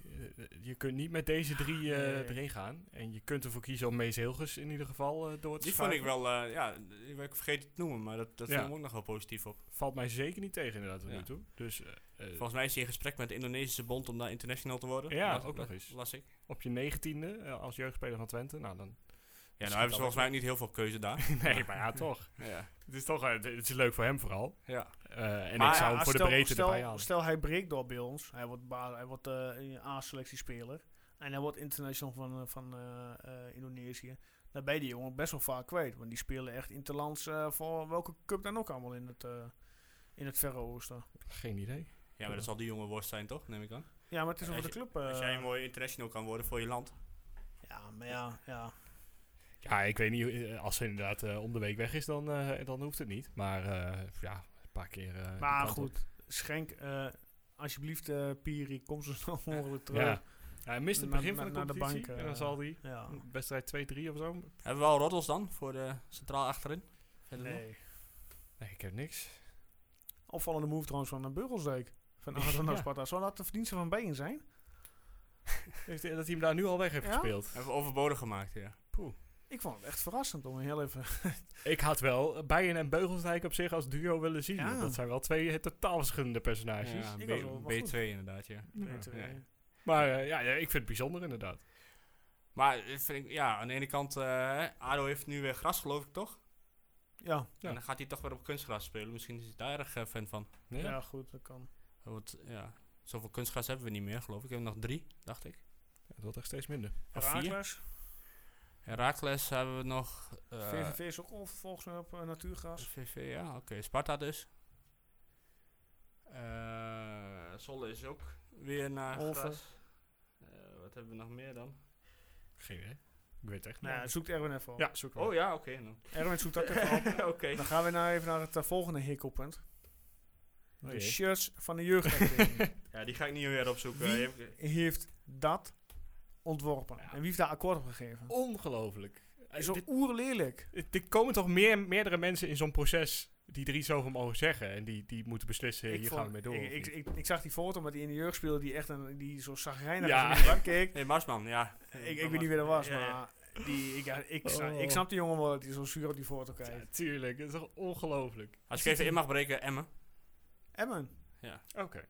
Eh, Je kunt niet met deze drie eh, Nee. erin gaan. En je kunt ervoor kiezen om Mees Hilgers in ieder geval eh, door te Die vond ik schuiven. wel, eh, ja, ik ben vergeten het te noemen, maar dat, dat Ja. viel me ook nog wel positief op. Valt mij zeker niet tegen inderdaad tot Ja. nu toe. Dus eh, eh, Volgens mij is hij in gesprek met de Indonesische bond om daar international te worden. Ja, Las- ook nog la- eens. Las ik. Dus op je negentiende e als jeugdspeler van Twente, nou dan... <laughs> Ja, schiet nou hebben al ze volgens mij ook niet heel veel keuze <laughs> daar. nee, <laughs> maar ja, toch. ja. Het is, toch, eh, het het is leuk voor hem vooral. ja. Eh, en Maar ik zou ja, hem voor de stel- breedte stel, erbij halen. Stel hij breekt door bij ons. Hij wordt, ba- hij wordt eh, een A-selectiespeler. En hij wordt international van, eh, van eh, eh, Indonesië. Daar ben je die jongen best wel vaak kwijt. Want die spelen echt interlands eh voor welke cup dan ook allemaal in het, eh, in het Verre Oosten. Geen idee. ja, maar dat zal die jonge worst zijn toch, neem ik aan. Ja, maar het is Ja, over de als club. Als eh, jij een mooie international kan worden voor je land. ja, maar ja, ja. Ja, ik weet niet. eh, Als ze inderdaad eh, om de week weg is, dan, eh, dan hoeft het niet. Maar eh, ja, een paar keer... eh, die Maar kant op. goed, Schenk, eh, alsjeblieft eh, Piri, kom zo snel mogelijk terug. Ja. Ja. Ja, hij mist het Na- begin na- van de naar de competitie. bank, en eh, dan zal hij wedstrijd 2-3 of zo. Hebben we al roddels dan voor de centraal achterin? Verder nog? Nee. Nee, ik heb niks. Opvallende move trouwens van een Burgelsdijk. Van <laughs> Arsenal naar Ja. Sparta. Zou dat de verdiensten van Been zijn? Heeft, dat hij hem daar nu al weg heeft Ja? gespeeld. Hebben we overbodig gemaakt, ja. Ik vond het echt verrassend om heel even. Ik had wel eh, Bijen en Beugelsdijk op zich als duo willen zien. Ja. want Dat zijn wel twee eh, totaal verschillende personages. ik was wel- B, was goed. 2 inderdaad, ja. Nee, <laughs> te- ja. Maar eh, ja, ja, ik vind het bijzonder inderdaad. Maar eh, vind ik, ja, aan de ene kant, eh, ADO heeft nu weer gras, geloof ik toch? Ja. Ja. En dan gaat hij toch weer op kunstgras spelen. Misschien is hij daar erg eh, fan van. Ja. ja, goed, dat kan. Want, ja, zoveel kunstgras hebben we niet meer, geloof ik. We hebben nog drie, dacht ik. Ja, Het wordt echt steeds minder. Of vier. Raakles. Herakles hebben we nog. eh, VVV is ook al volgens mij op eh, natuurgas. VV, ja, oké. Sparta dus. Eh Zolle is ook weer naar Olven. gras. Eh, wat hebben we nog meer dan? Geen idee. Ik weet het echt niet. Nou, zoekt Erwin even op. ja, zoek wel. Oh ja, oké. nou. Erwin zoekt dat even op. <laughs> <laughs> oké. Dan gaan we nou even naar het eh, volgende hikkelpunt. Oh de jee. shirts van de <laughs> jeugdacademie. Ja, die ga ik niet meer opzoeken. Wie? Je hebt- heeft dat ontworpen? Ja. En wie heeft daar akkoord op gegeven? Ongelooflijk. Eh, is zo dit- oerlelijk. dit- Er komen toch meer, meerdere mensen in zo'n proces die er iets over mogen zeggen. En die, die moeten beslissen, hier gaan we mee door. of Ik, ik, niet. ik, ik zag die foto met die in de jeugd speelde die echt een, die zo zagrijnig Ja. als in de bank <laughs> keek. Nee, Marsman, ja. Ik, ik weet niet wie dat was, Ja, ja. maar die, ik, ja, ik, sna- Oh. ik snap die jongen wel dat hij zo zuur op die foto Ja, kijkt. tuurlijk. Dat is toch ongelooflijk. Als ik even in mag breken, Emmen. Emmen, Oké.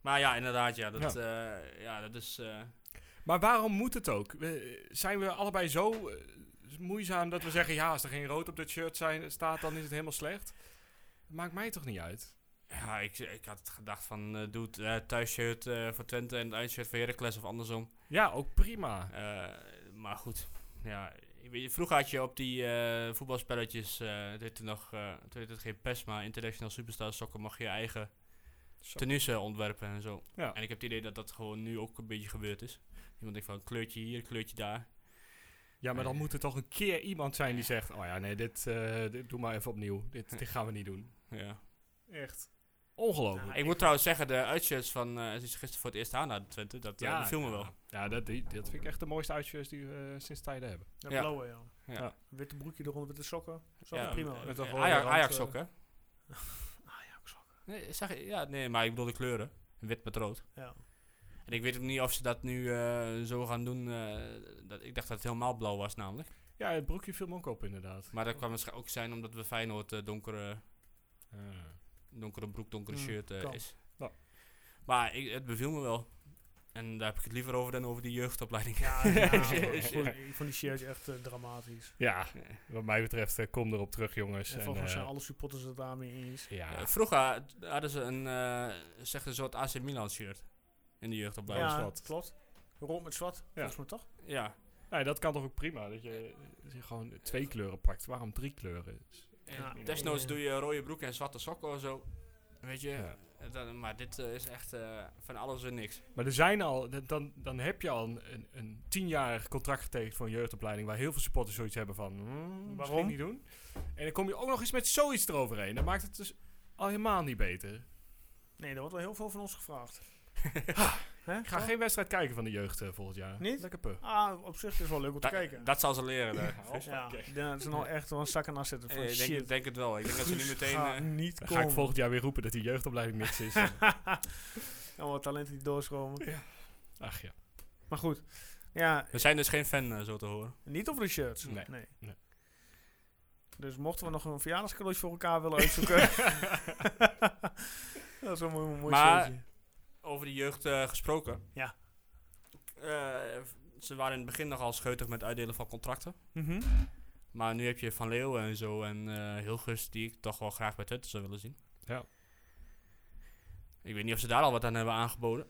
Maar ja, inderdaad, ja. Dat, ja. ja, dat is... eh, Maar waarom moet het ook? We- zijn we allebei zo eh, moeizaam dat we zeggen... ja, als er geen rood op dat shirt zijn, staat, dan is het helemaal slecht? Maakt mij toch niet uit? ja, ik, ik had gedacht van... eh doe het eh, thuisshirt eh, voor Twente en het uitshirt voor Heracles of andersom. Ja, ook prima. Eh, maar goed, ja. ik weet- Vroeger had je op die eh, voetbalspelletjes, eh het heette nog, eh, toen heette het geen PES, maar International Superstar Soccer, mocht je je eigen Zo. tenues eh, ontwerpen en zo. Ja. En ik heb het idee dat dat gewoon nu ook een beetje gebeurd is. Iemand denkt van, kleurtje hier, kleurtje daar. Ja, maar dan moet er toch een keer iemand zijn die zegt... oh ja, nee, dit, eh, dit doe maar even opnieuw. Dit, dit gaan we niet doen. Ja. Echt. Ongelooflijk. Ik moet trouwens zeggen, de uitshirts van, eh ze is gisteren voor het eerst aan naar Twente, dat eh, die viel me wel. Ja, dat, die- dat vind ik echt de mooiste uitjes die we eh, sinds tijden hebben. dat Ja. blauwe, ja. Ja. Witte broekje eronder, witte sokken. Zo Ja, prima. eh, Met een eh, rode Ajax, rand, Ajax eh. ook, hè? Nee, zag, je- ja, nee, maar ik bedoel de kleuren. Wit met rood. <laughs> ja. En ik weet ook niet of ze dat nu eh, zo gaan doen. eh, dat, ik dacht dat het helemaal blauw was namelijk. Ja, het broekje viel me ook op, inderdaad. Maar dat kan misschien ook zijn omdat we Feyenoord eh, donkere, Eh, donkere broek, donkere Hmm, shirt eh, kan. is. Ja. Maar ik, het beviel me wel. En daar heb ik het liever over dan over die jeugdopleiding. <laughs> Ja, ja, ik Ja. vond- <laughs> ik vond die shirts echt eh, dramatisch. ja, wat mij betreft, eh, kom erop terug, jongens. En volgens mij eh, zijn alle supporters het daarmee eens. ja. Eh, vroeger hadden ze een, eh, zeg een soort AC Milan shirt in de jeugdopleiding. ja, zwart. klopt. Rond met zwart, volgens mij toch? Ja. Nee, dat kan toch ook prima, dat je, dat je gewoon twee kleuren pakt. Waarom drie kleuren? En Ja. desnoods Ja. doe je rode broek en zwarte sokken of zo. Weet je. Ja. Eh, dan- maar dit eh, is echt eh, van alles en niks. Maar er zijn al, d- dan, dan heb je al een, een, een tienjarig contract getekend voor een jeugdopleiding... waar heel veel supporters zoiets hebben van, hmm, Waarom? misschien niet doen. En dan kom je ook nog eens met zoiets eroverheen. Dan maakt het dus al helemaal niet beter. Nee, er wordt wel heel veel van ons <laughs> gevraagd. Hè? Ik ga geen wedstrijd kijken van de jeugd eh, volgend jaar. Niet? Lekker puh. Ah, op zich is het wel leuk om te Da- kijken. Dat zal ze leren. daar. <laughs> ja, dat is nou echt wel een zak aan afzetten Eh, van ik denk, shit. denk het wel. Ik denk dat ze nu meteen. Ga eh, niet Dan komen. ga ik <laughs> volgend jaar weer roepen dat die jeugdopleiding niks is. nou, wat talenten die doorstromen. Ach ja. Maar goed. Ja, we zijn dus geen fan, eh, zo te horen. niet over de shirts. Nee, nee. Dus mochten we nog een verjaardagscadeautje voor elkaar willen <laughs> uitzoeken. dat is wel een mooi, mooi Maar- shirtje. Over de jeugd eh, gesproken. Ja. Eh, ze waren in het begin nogal scheutig met uitdelen van contracten. Mhm. Maar nu heb je Van Leeuwen en zo en eh Hilgers die ik toch wel graag bij Twente zou willen zien. Ja. Ik weet niet of ze daar al wat aan hebben aangeboden.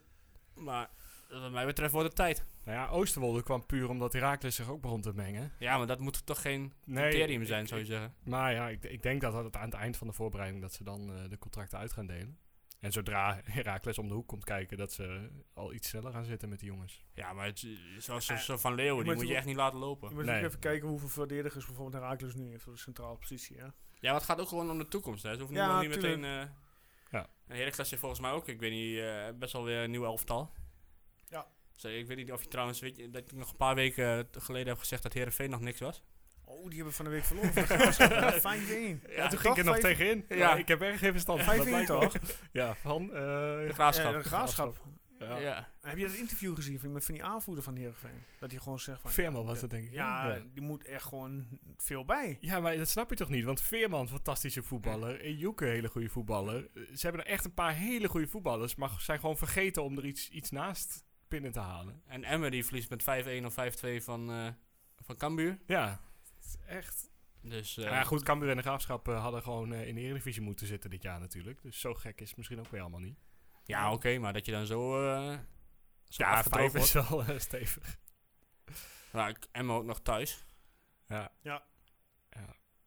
Maar eh, wat mij betreft wordt het tijd. Nou ja, Oosterwolde kwam puur omdat Herakles zich ook begon te mengen. Ja, maar dat moet toch geen Nee, criterium zijn, ik- zou je zeggen? Maar ja, ik, ik denk dat dat aan het eind van de voorbereiding dat ze dan eh, de contracten uit gaan delen. En zodra Herakles om de hoek komt kijken, dat ze al iets sneller gaan zitten met die <laughs> jongens. Ja, maar het, zoals Eh, zo van Leeuwen, je die moet moet je ook- echt niet laten Je lopen. moet Nee. ook even kijken hoeveel verdedigers bijvoorbeeld Herakles nu heeft op de centrale positie. Hè? Ja, maar het gaat ook gewoon om de toekomst. Hè. Ze hoeven Ja, nu nog niet tuurlijk. meteen... eh Ja. En Heracles heeft volgens mij ook, ik weet niet, eh, best wel weer een nieuw elftal. Ja. Zo, ik weet niet of je trouwens, weet je, dat ik nog een paar weken eh, geleden heb gezegd dat Herenveen nog niks was. Oh, die hebben van de week <laughs> verloren. van Graafschap. 5-1. Ja, toen ging toch ik er nog vijf- tegenin. Ja. Ja, ik heb erg geen verstand van. dat 5-1 lijkt wel. toch? Ja, van... eh, De Ja, graafschap. de graafschap. ja. Ja. Heb je dat interview gezien van, met van die aanvoerder van Heerenveen? Dat hij gewoon zegt van... Veerman was dat denk ik. Ja, ja. die moet echt gewoon veel bij. Ja, maar dat snap je toch niet? Want Veerman, fantastische voetballer. En Joeke, hele goede voetballer. Eh, Ze hebben er echt een paar hele goede voetballers, maar zijn gewoon vergeten om er iets, iets naast binnen te halen. En Emmer die verliest met 5-1 of 5-2 van, eh van Cambuur. Ja, het is echt... Dus Ja, eh, goed, Cambuur en de Graafschap eh, hadden gewoon eh, in de Eredivisie moeten zitten dit jaar natuurlijk. Dus zo gek is het misschien ook weer allemaal niet. ja, oké, maar dat je dan zo... eh zo afgedroogd wordt. wel eh, stevig. Ja, ik, Emma ook nog thuis. Ja,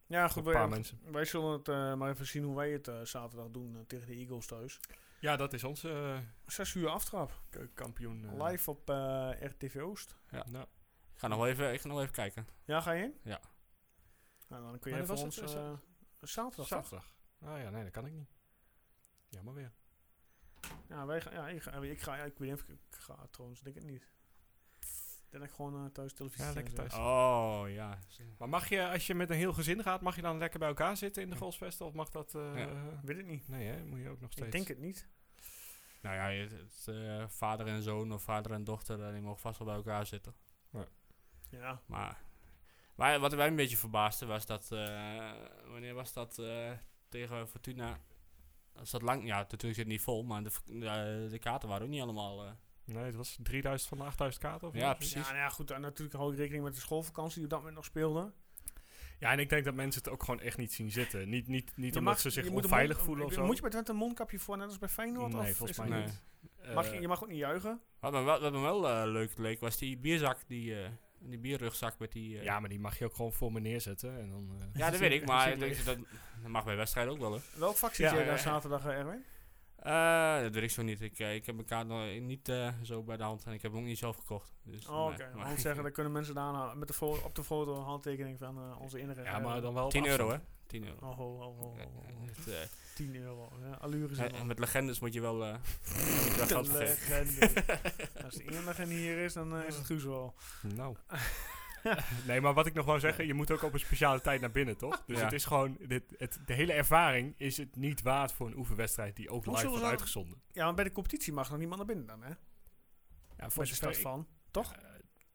Ja, een goed. paar Wij, mensen. wij zullen het eh, maar even zien hoe wij het eh, zaterdag doen eh, tegen de Eagles thuis. Ja, dat is onze eh, Zes uur aftrap. k- kampioen. eh, Live op eh, RTV Oost. Ja. Nou, Ik ga nog wel even, ik ga nog wel even kijken. Ja, ga je in? Ja. Nou, dan kun je Wanneer voor was ons... het? eh, zaterdag, toch? zaterdag. Ah ja, nee, dat kan ik niet. Jammer weer. Ja, wij gaan, ja, ik ga, ik ga, ja, ik weet niet of ik, ik ga trouwens, denk het niet. Dan heb ik gewoon eh, thuis televisie. Ja, en lekker zo. thuis. Oh, ja. Maar mag je, als je met een heel gezin gaat, mag je dan lekker bij elkaar zitten in de golfsvesten? Of mag dat... eh, Ja. Weet het niet. Nee, hè? Moet je ook nog steeds... Ik denk het niet. Nou ja, het, het, eh, vader en zoon of vader en dochter, eh, die mogen vast wel bij elkaar zitten. Ja. Maar wij- wat wij een beetje verbaasde was dat, eh, wanneer was dat eh, tegen Fortuna? Dat zat lang, ja, natuurlijk zit het niet vol, maar de, v- eh, de kaarten waren ook niet allemaal. eh, Nee, het was 3000 van de 8000 kaarten. Of Ja, zo. precies. Ja, nou ja, goed. En natuurlijk hou ik rekening met de schoolvakantie die op dat moment nog speelde. Ja, en ik denk dat mensen het ook gewoon echt niet zien zitten. Niet, niet, niet Je omdat mag- ze zich je moet een onveilig mond- voelen of moet- zo. Moet je bij Twente een mondkapje voor, net als bij Feyenoord? nee, of volgens is het mij nee. niet. Mag je, Eh, je mag ook niet juichen. Wat me wel, wat me wel eh, leuk leek was die bierzak, die, eh, die bierrugzak met die. eh, ja, maar die mag je ook gewoon voor me neerzetten. En dan, eh, ja, dat weet <laughs> ik, zit maar ik leeg. denk dat, dat mag bij wedstrijden ook wel. Hè. Welk vak zit Ja, jij ja, daar ja. zaterdag, eh, Erwin? Eh, dat weet ik zo niet. Ik, eh, ik heb mijn kaart nog niet eh, zo bij de hand en ik heb hem ook niet zelf gekocht. Dus, Oh, nee, Oké, okay. maar- zeggen, dan kunnen mensen daarna met de fo- op de foto een handtekening van eh, onze innere... ja, maar dan wel op 10 euro, hè? afstand. 10 euro. Oh, ho, ho, ho, ho, ho. Het, eh, 10 euro. Ja, allure eh, zijn wel. met legendes moet je wel, <laughs> eh, moet je wel geld <laughs> De geven. legende. Als de enige hier is, dan eh, is het Guus wel. Nou. <laughs> nee, maar wat ik nog wou zeggen, je moet ook op een speciale tijd naar binnen, toch? Dus Ja. het is gewoon, dit, het, de hele ervaring is het niet waard voor een oefenwedstrijd die Hoe ook live zullen wordt ze- uitgezonden. Ja, maar bij de competitie mag nog niemand naar binnen dan, hè? Ja, Voor de start van. toch? Eh,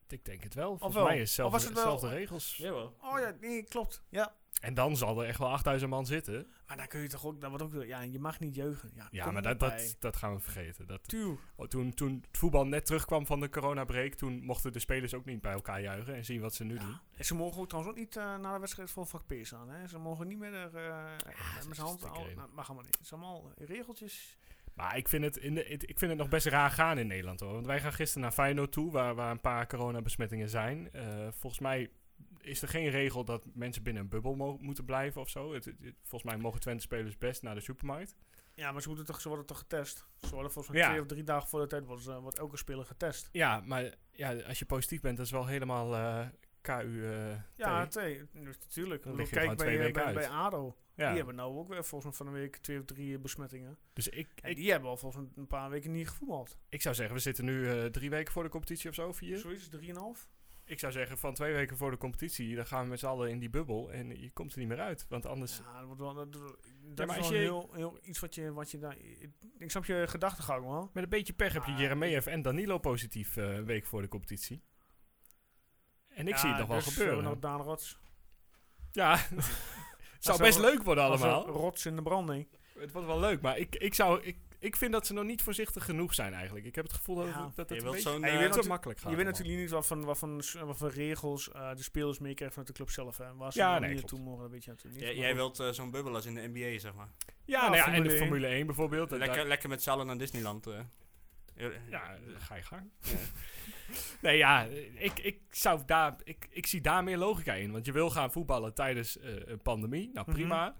ik denk het wel. Volgens wel? mij is zelf, Of was het wel- hetzelfde regels. Jawel. Oh ja, nee, klopt. Ja. En dan zal er echt wel 8000 man zitten. Maar dan kun je toch ook... Dan wordt ook ja, je mag niet jeugen. Ja, Ja, kom maar dat, erbij. dat, dat gaan we vergeten. Dat, Tuurlijk. Oh, toen, toen het voetbal net terugkwam van de coronabreak, toen mochten de spelers ook niet bij elkaar juichen en zien wat ze nu doen. En ze mogen ook trouwens ook niet eh, na de wedstrijd vol vak P's aan. Hè? Ze mogen niet meer eh, met is zijn hand... dikke Al, reden. nou, mag allemaal niet. Het zijn allemaal regeltjes. Maar ik vind, het in de, het- ik vind het nog best raar gaan in Nederland hoor. Want wij gaan gisteren naar Feyenoord toe, waar, waar een paar coronabesmettingen zijn. Eh, volgens mij is er geen regel dat mensen binnen een bubbel mo- moeten blijven of zo. Het, het- het- volgens mij mogen Twente spelers best naar de supermarkt. Ja, maar ze, moeten toch, ze worden toch getest? Ze worden volgens mij Ja. twee of drie dagen voor de tijd... Wordt, ze- wordt elke speler getest. Ja, maar ja, als je positief bent, dat is wel helemaal eh KU. eh, Ja, T. twee. Dus Natuurlijk. Dan Ik lig bedoel, je Kijk gewoon twee bij, eh, bij, weken uit. bij ADO. ja. Die hebben nou ook weer volgens mij van een week twee of drie eh, besmettingen. Dus ik, En ik, die hebben al volgens mij een paar weken niet gevoetbald. ik zou zeggen, we zitten nu eh, drie weken voor de competitie of zo, vier. Zoiets, drieënhalf. Ik zou zeggen, van twee weken voor de competitie, dan gaan we met z'n allen in die bubbel en je komt er niet meer uit. Want anders. Ja, dat wordt wel, dat, dat Dus maar is als wel je- heel, heel iets wat je, wat je daar... Ik, ik snap je gedachtegang wel. Met een beetje pech heb je Ah, Jeremejeff en Danilo positief eh, een week voor de competitie. En ik Ja, zie het nog wel dus gebeuren. zullen we Nou, Daan Rots. <laughs> Ja, het zou best wel- leuk worden allemaal. Als een Rots in de branding. Het wordt wel leuk, maar ik, ik, zou, ik, ik vind dat ze nog niet voorzichtig genoeg zijn eigenlijk. Ik heb het gevoel dat, Ja. dat, dat Je het een wilt beetje zo'n... Ja, Ah, je eh, wilt te natu- makkelijk gaat. je weet allemaal. natuurlijk niet wat van, wat van, wat van regels eh, de spelers meekrijgen vanuit de club zelf. Hè. En Waar ze Ja, ja, nee, nee, klopt. toe mogen, dat weet je natuurlijk niet. jij- Maar jij goed. wilt eh, zo'n bubbel als in de NBA, zeg maar. Ja, Ja, nou ja, Ah, en Formule de 1. Formule 1 bijvoorbeeld. dat- Lekker, lekker met z'n allen naar Disneyland. eh. dat- ja, ga je gang. <laughs> nee, ja, ik, ik, zou daar, ik, ik zie daar meer logica in. Want je wil gaan voetballen tijdens eh, een pandemie. Nou, Mhm. prima.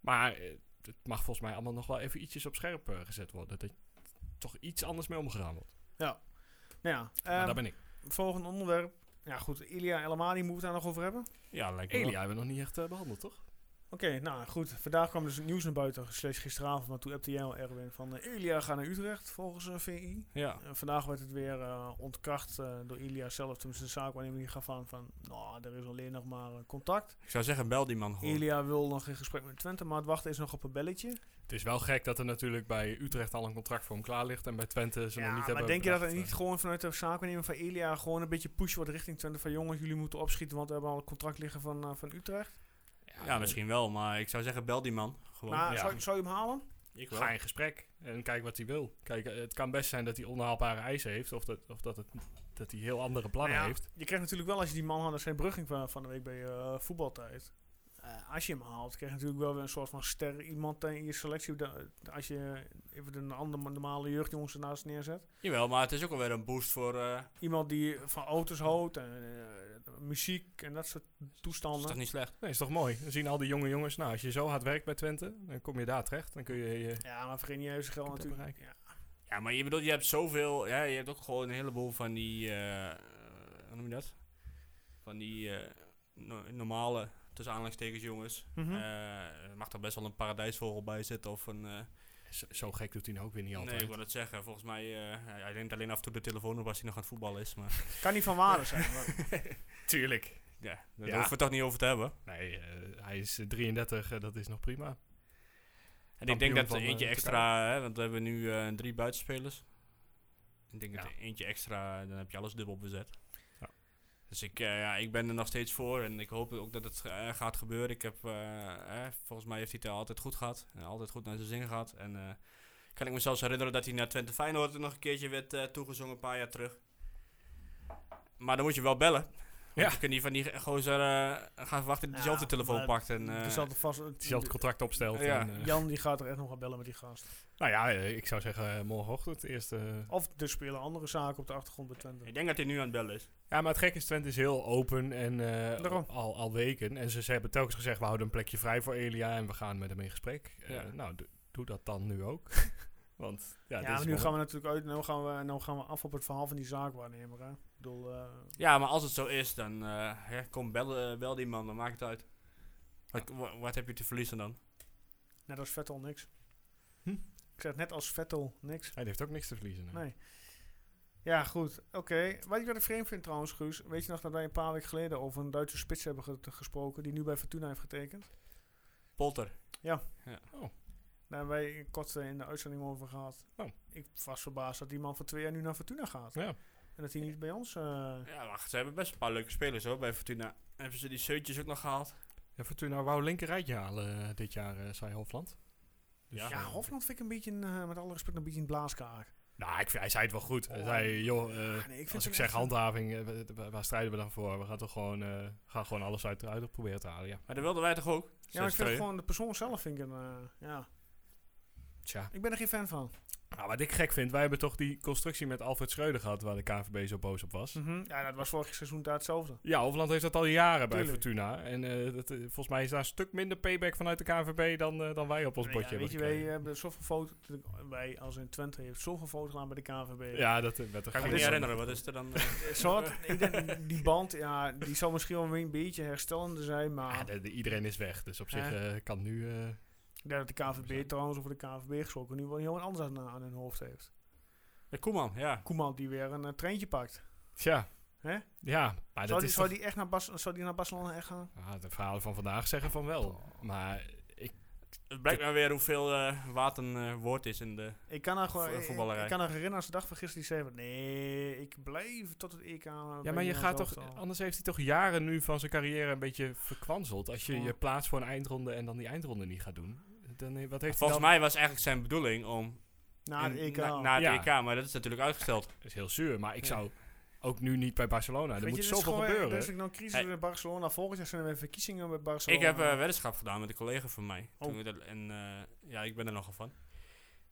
Maar eh, het mag volgens mij allemaal nog wel even ietsjes op scherp eh, gezet worden. Dat je toch iets anders mee omgegaan wordt. Nou ja, maar ehm, daar ben ik. Volgend onderwerp. Ja, goed. Ilia Elamadi moeten we daar nog over hebben. Ja, lijkt me wel. Elia hebben we nog niet echt eh, behandeld, toch? Oké, nou goed. Vandaag kwam dus het nieuws naar buiten, slechts gisteravond. Maar toen appte jij al, Erwin, van eh, Ilia gaat naar Utrecht, volgens eh, VI. Ja. En vandaag werd het weer eh, ontkracht eh, door Ilia zelf. Tenminste, de zaak waarin hij gaf aan van, nou, er is alleen nog maar eh, contact. Ik zou zeggen, bel die man gewoon. Ilia wil nog in gesprek met Twente, maar het wachten is nog op een belletje. Het is wel gek dat er natuurlijk bij Utrecht al een contract voor hem klaar ligt. En bij Twente ze Ja, nog niet maar hebben denk je dat er bedacht, niet eh, gewoon vanuit de zaakwaarnemer van Ilia gewoon een beetje push wordt richting Twente van, jongens, jullie moeten opschieten, want we hebben al een contract liggen van, eh, van Utrecht. Ja, misschien wel, maar ik zou zeggen, bel die man gewoon. Maar ja. zou, zou je hem halen? ik wel. Ga in gesprek en kijk wat hij wil. Kijk, eh, het kan best zijn dat hij onhaalbare eisen heeft. Of dat, of dat, het, dat hij heel andere plannen Nou ja, heeft. Je krijgt natuurlijk wel als je die man had, dat zijn brugging van, van de week bij eh, voetbaltijd. Eh, eh, als je hem haalt, krijg je natuurlijk wel weer een soort van ster iemand in je selectie. da- als je even een andere normale jeugdjongens ernaast neerzet. Jawel, maar het is ook alweer een boost voor... eh, Iemand die van auto's houdt en eh, muziek en dat soort is toch toestanden. niet slecht? Nee, is toch mooi. Dan zien al die jonge jongens, nou, als je zo hard werkt bij Twente, dan kom je daar terecht. Dan kun je... eh, Ja, maar vergeet niet even zijn geld Kunt dat natuurlijk. Ja. Ja, maar je bedoelt, je hebt zoveel... Ja, je hebt ook gewoon een heleboel van die... eh, hoe noem je dat? Van die eh, no- normale, tussen aanhalingstekens jongens. Hm? Mhm. Eh, er mag toch best wel een paradijsvogel bij zitten of een... eh, zo, zo gek doet hij nou ook weer niet nee, altijd. ik wil het zeggen. Volgens mij, eh, hij- hij neemt alleen af en toe de telefoon op als hij nog aan het voetballen is. Maar Kan niet van Ah, waarde zijn. maar- Tuurlijk. ja, daar Ja. hoeven we het toch niet over te hebben. Nee, eh, hij is eh, 33, eh, dat is nog prima. En ik Kampioen denk dat van, er eh, eentje Turkije. extra, hè, want we hebben nu eh, drie buitenspelers. Ik denk dat Ja. er eentje extra, dan heb je alles dubbel bezet. Ja. Dus ik, eh, ja, ik ben er nog steeds voor en ik hoop ook dat het eh, gaat gebeuren. Ik heb, eh, eh, volgens mij heeft hij het altijd goed gehad. En altijd goed naar zijn zin gehad. En eh, kan ik me zelfs herinneren dat hij naar Twente Feyenoord nog een keertje werd eh, toegezongen een paar jaar terug. Maar dan moet je wel bellen. Want Ja. Je kunt niet van die ge- gozer eh, gaan verwachten die Ja, dezelfde telefoon maar pakt. <laughs> En, eh, Er zal er vast, Hetzelfde contract opstelt. Ja. en, eh, Jan die gaat er echt nog wel bellen met die gast. Nou ja, eh, ik zou zeggen eh, morgenochtend eerst. eh. Of er spelen andere zaken op de achtergrond bij Twente. ik denk dat hij nu aan het bellen is. Ja, maar het gekke is, Twente is heel open en eh, Daarom. al, al weken. En ze, ze hebben telkens gezegd, we houden een plekje vrij voor Elia en we gaan met hem in gesprek. Eh, Ja. nou, do- doe dat dan nu <laughs> ook. Want Ja, ja, dit is maar nu wel- gaan we natuurlijk uit. Nu gaan we, nou gaan we af op het verhaal van die zaakwaarnemer. Hè? Ik bedoel, eh, Ja, maar als het zo is, dan eh, hè, kom bel, eh, bel die man, dan maakt het uit. Wat, wa- wat heb je te verliezen dan? net als Vettel niks. Hm? Ik zeg net als Vettel niks. Hij heeft ook niks te verliezen. hè. Nee. Ja, goed. Oké. Wat ik wel een vreemd vind trouwens, Guus. Weet je nog dat wij een paar weken geleden over een Duitse spits hebben ge- gesproken. die nu bij Fortuna heeft getekend? Polter. Daar hebben wij kort eh, in de uitzending over gehad. Oh. Ik was verbaasd dat die man voor twee jaar nu naar Fortuna gaat. Ja. En dat hij niet bij ons. eh, Ja, wacht, ze hebben best een paar leuke spelers hoor, bij Fortuna. Hebben ze die Seutjes ook nog gehaald? Ja, Fortuna wou linker rijtje halen eh, dit jaar, eh, zei Hofland. Ja. Ja, eh, Hofland vind ik een beetje, een, eh, met alle respect, een beetje een blaaskaak. Nou, ik, vind- hij zei het wel goed. Hij Oh. zei, joh, eh, Ah, nee, ik vind als hem ik zeg echt een- handhaving, eh, wa- wa- waar strijden we dan voor? We gaan toch gewoon, eh, gaan gewoon alles uit, uit proberen te halen, ja. Maar dat wilden wij toch ook? Ja, maar ik vind Zes-twee. gewoon de persoon zelf vind ik een, eh, ja. Tja. Ik ben er geen fan van. Nou, wat ik gek vind, wij hebben toch die constructie met Alfred Schreuder gehad waar de KVB zo boos op was. Mhm. Ja, dat was vorig seizoen daar hetzelfde. Ja, Hofland heeft dat al jaren bij Tuurlijk. Fortuna. En eh, dat, eh, volgens mij is daar een stuk minder payback vanuit de KVB dan, eh, dan wij op ons Nee, bordje ja, weet je, hebben wij eh, gekregen. hebben zoveel foto, wij als in Twente heeft zoveel foto gedaan bij de KVB. Ja, dat eh, werd er Kan ik me geen- niet herinneren, wat is er dan? eh? Zo <laughs> had- ik denk, die band, ja, die zal misschien wel weer een beetje herstellende zijn, maar Ah, de- de- iedereen is weg, dus op Hè? zich eh, kan nu... eh, ik denk dat de KVB trouwens over de KVB gesproken nu wel heel wat anders aan, aan hun hoofd heeft. <laughs> Ja, Koeman, ja. Koeman die weer een eh, treintje pakt. tja. Hè? Ja, Zou maar dat die, is zou toch- die echt naar, Bas, zou die naar Barcelona echt gaan? Ah, de verhalen van vandaag zeggen van wel. Maar ik, Het blijkt maar weer hoeveel eh water een eh, woord is in de... Ik kan haar gewoon. Voor- Ik, voetballerij. ik kan haar herinneren als de dag van gisteren die zei: van, Nee, ik blijf tot het EK. ja, maar je gaat toch... Anders heeft hij toch jaren nu van zijn carrière een beetje verkwanseld. Als je Ja. je plaats voor een eindronde en dan die eindronde niet gaat doen. Dan, eh, wat heeft hij Volgens dan? E mij was eigenlijk zijn bedoeling om... Na het in- EK. na- na het Ja. EK, maar dat is natuurlijk uitgesteld. Dat is heel zuur, maar ik Ja. zou ook nu niet bij Barcelona. Er Weet moet je, dit is zoveel gewoon- eh, gebeuren. Er is ook nog een crisis Hey. in Barcelona. Volgend jaar zijn er weer verkiezingen bij Barcelona. Ik heb eh weddenschap gedaan met een collega van mij. Oh. Toen we dat, en eh, ja, ik ben er nogal van.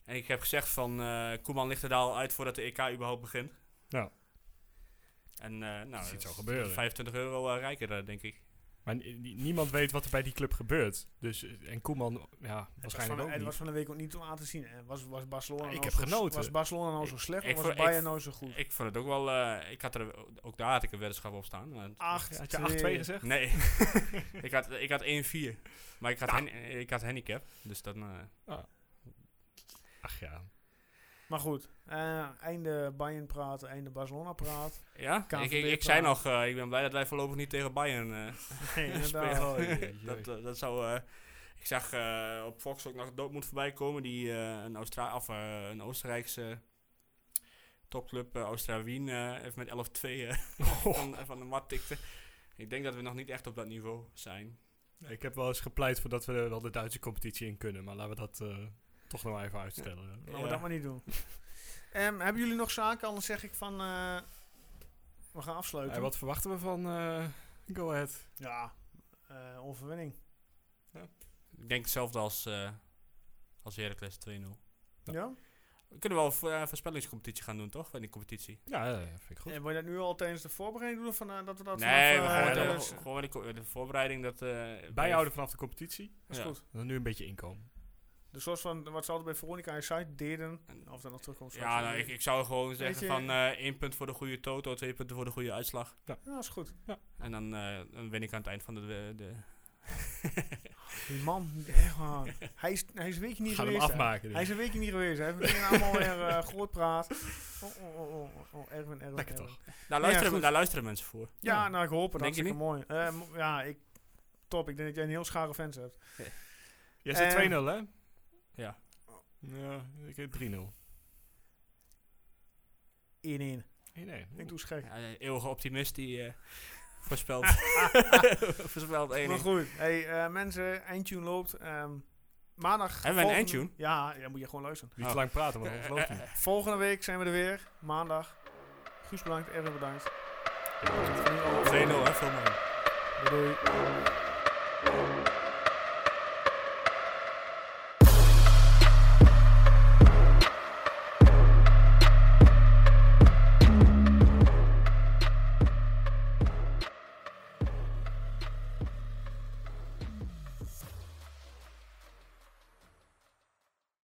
En ik heb gezegd van eh, Koeman ligt er daar al uit voordat de EK überhaupt begint. Nou. En eh, nou, Dat is iets dat zo gebeuren. 25 euro eh, rijker, eh, denk ik. Maar ni- ni- niemand weet wat er bij die club gebeurt. Dus, eh, en Koeman, ja, Het was, van, waarschijnlijk ook het was niet. van de week ook niet om aan te zien. hè. Was, was, Barcelona Ik nou heb zo, genoten. was Barcelona nou zo slecht? ik of was vond- Bayern ik- nou zo goed? Ik vond het ook wel. eh, ik had er ook daar had ik een weddenschap op staan. maar- <laughs> 8. Had je 8-2 gezegd? <laughs> nee, ik had, ik had 1-4. Maar ik had, hen- ik had handicap. Dus dan. eh, Ach ja. <laughs> Maar goed, eh, einde Bayern praat, einde Barcelona <laughs> praat. ja, KNVB ik, ik, ik zei nog, eh, ik ben blij dat wij voorlopig niet tegen Bayern. eh, Nee, inderdaad. Spelen. Oh, jee, jee. Dat, eh, dat zou. eh, ik zag eh, op Fox ook nog Dortmund voorbij komen, die eh, een, Austra of, eh, een Oostenrijkse topclub, eh Austria Wien, eh, heeft met 11-2 eh, van, van de mat tikte. Ik denk dat we nog niet echt op dat niveau zijn. Ik heb wel eens gepleit voor dat we er wel de Duitse competitie in kunnen. Maar laten we dat eh, toch nog maar even uitstellen. Laten we Ja. dat maar niet doen. Ehm, hebben jullie nog zaken? Anders zeg ik van... eh, we gaan afsluiten. En wat verwachten we van eh, Go Ahead? Ja, eh, overwinning. Ik denk hetzelfde als, eh als Heracles 2-0. Ja? We kunnen wel een vo- eh, voorspellingscompetitie gaan doen, toch? In die competitie. Ja, ja, ja, vind ik goed. En wil je dat nu al tijdens de voorbereiding doen? Van, eh, dat we dat nee, we vanaf, eh, gaan dat- de- gewoon, gewoon in de, co- de voorbereiding dat... eh Bijhouden vanaf de competitie. is Ja. goed. Dan nu een beetje inkomen. Dus zoals van wat ze altijd bij Veronica en Site deden. En- Of dat nog terugkomt. straks. Ja, nou, ik, ik zou gewoon zeggen je- van eh één punt voor de goede toto, twee punten voor de goede uitslag. Ja, is goed. En dan, eh, dan win ik aan het eind van de... de, de- Die man, echt waar. <laughs> hij, is, hij is een weekje niet Gaan hem geweest. hè. afmaken. Hij dus. is een weekje niet geweest. Hij heeft meteen <laughs> allemaal weer eh groot praat. Oh, oh, oh, oh, oh, Erwin, Erwin, Lekker Erwin. toch? Daar, Ja, luisteren, goed. daar luisteren mensen voor. Ja, Ja. nou, ik hoop het. Denk je Hartstikke mooi. Eh, mo- ja, ik... Top. Ik denk dat jij een heel schare fans hebt. Jij zit Eh, 2-0, hè? Ja. Ja, ik heb 3-0. 1-1. Nee, nee. Ik doe schek. Ja, de eeuwige optimist die eh, voorspelt. voorspelt één. Maar goed. Hey, eh, mensen, eindtune loopt. ehm, maandag... Hebben we een volgende- eindtune? Ja, ja, moet je gewoon luisteren. Niet te lang praten, want Oh. anders loopt het niet. Volgende week zijn we er weer. Maandag. Guus bedankt. Erwin bedankt. 2-0, hè, veel mooi. Doei, doei.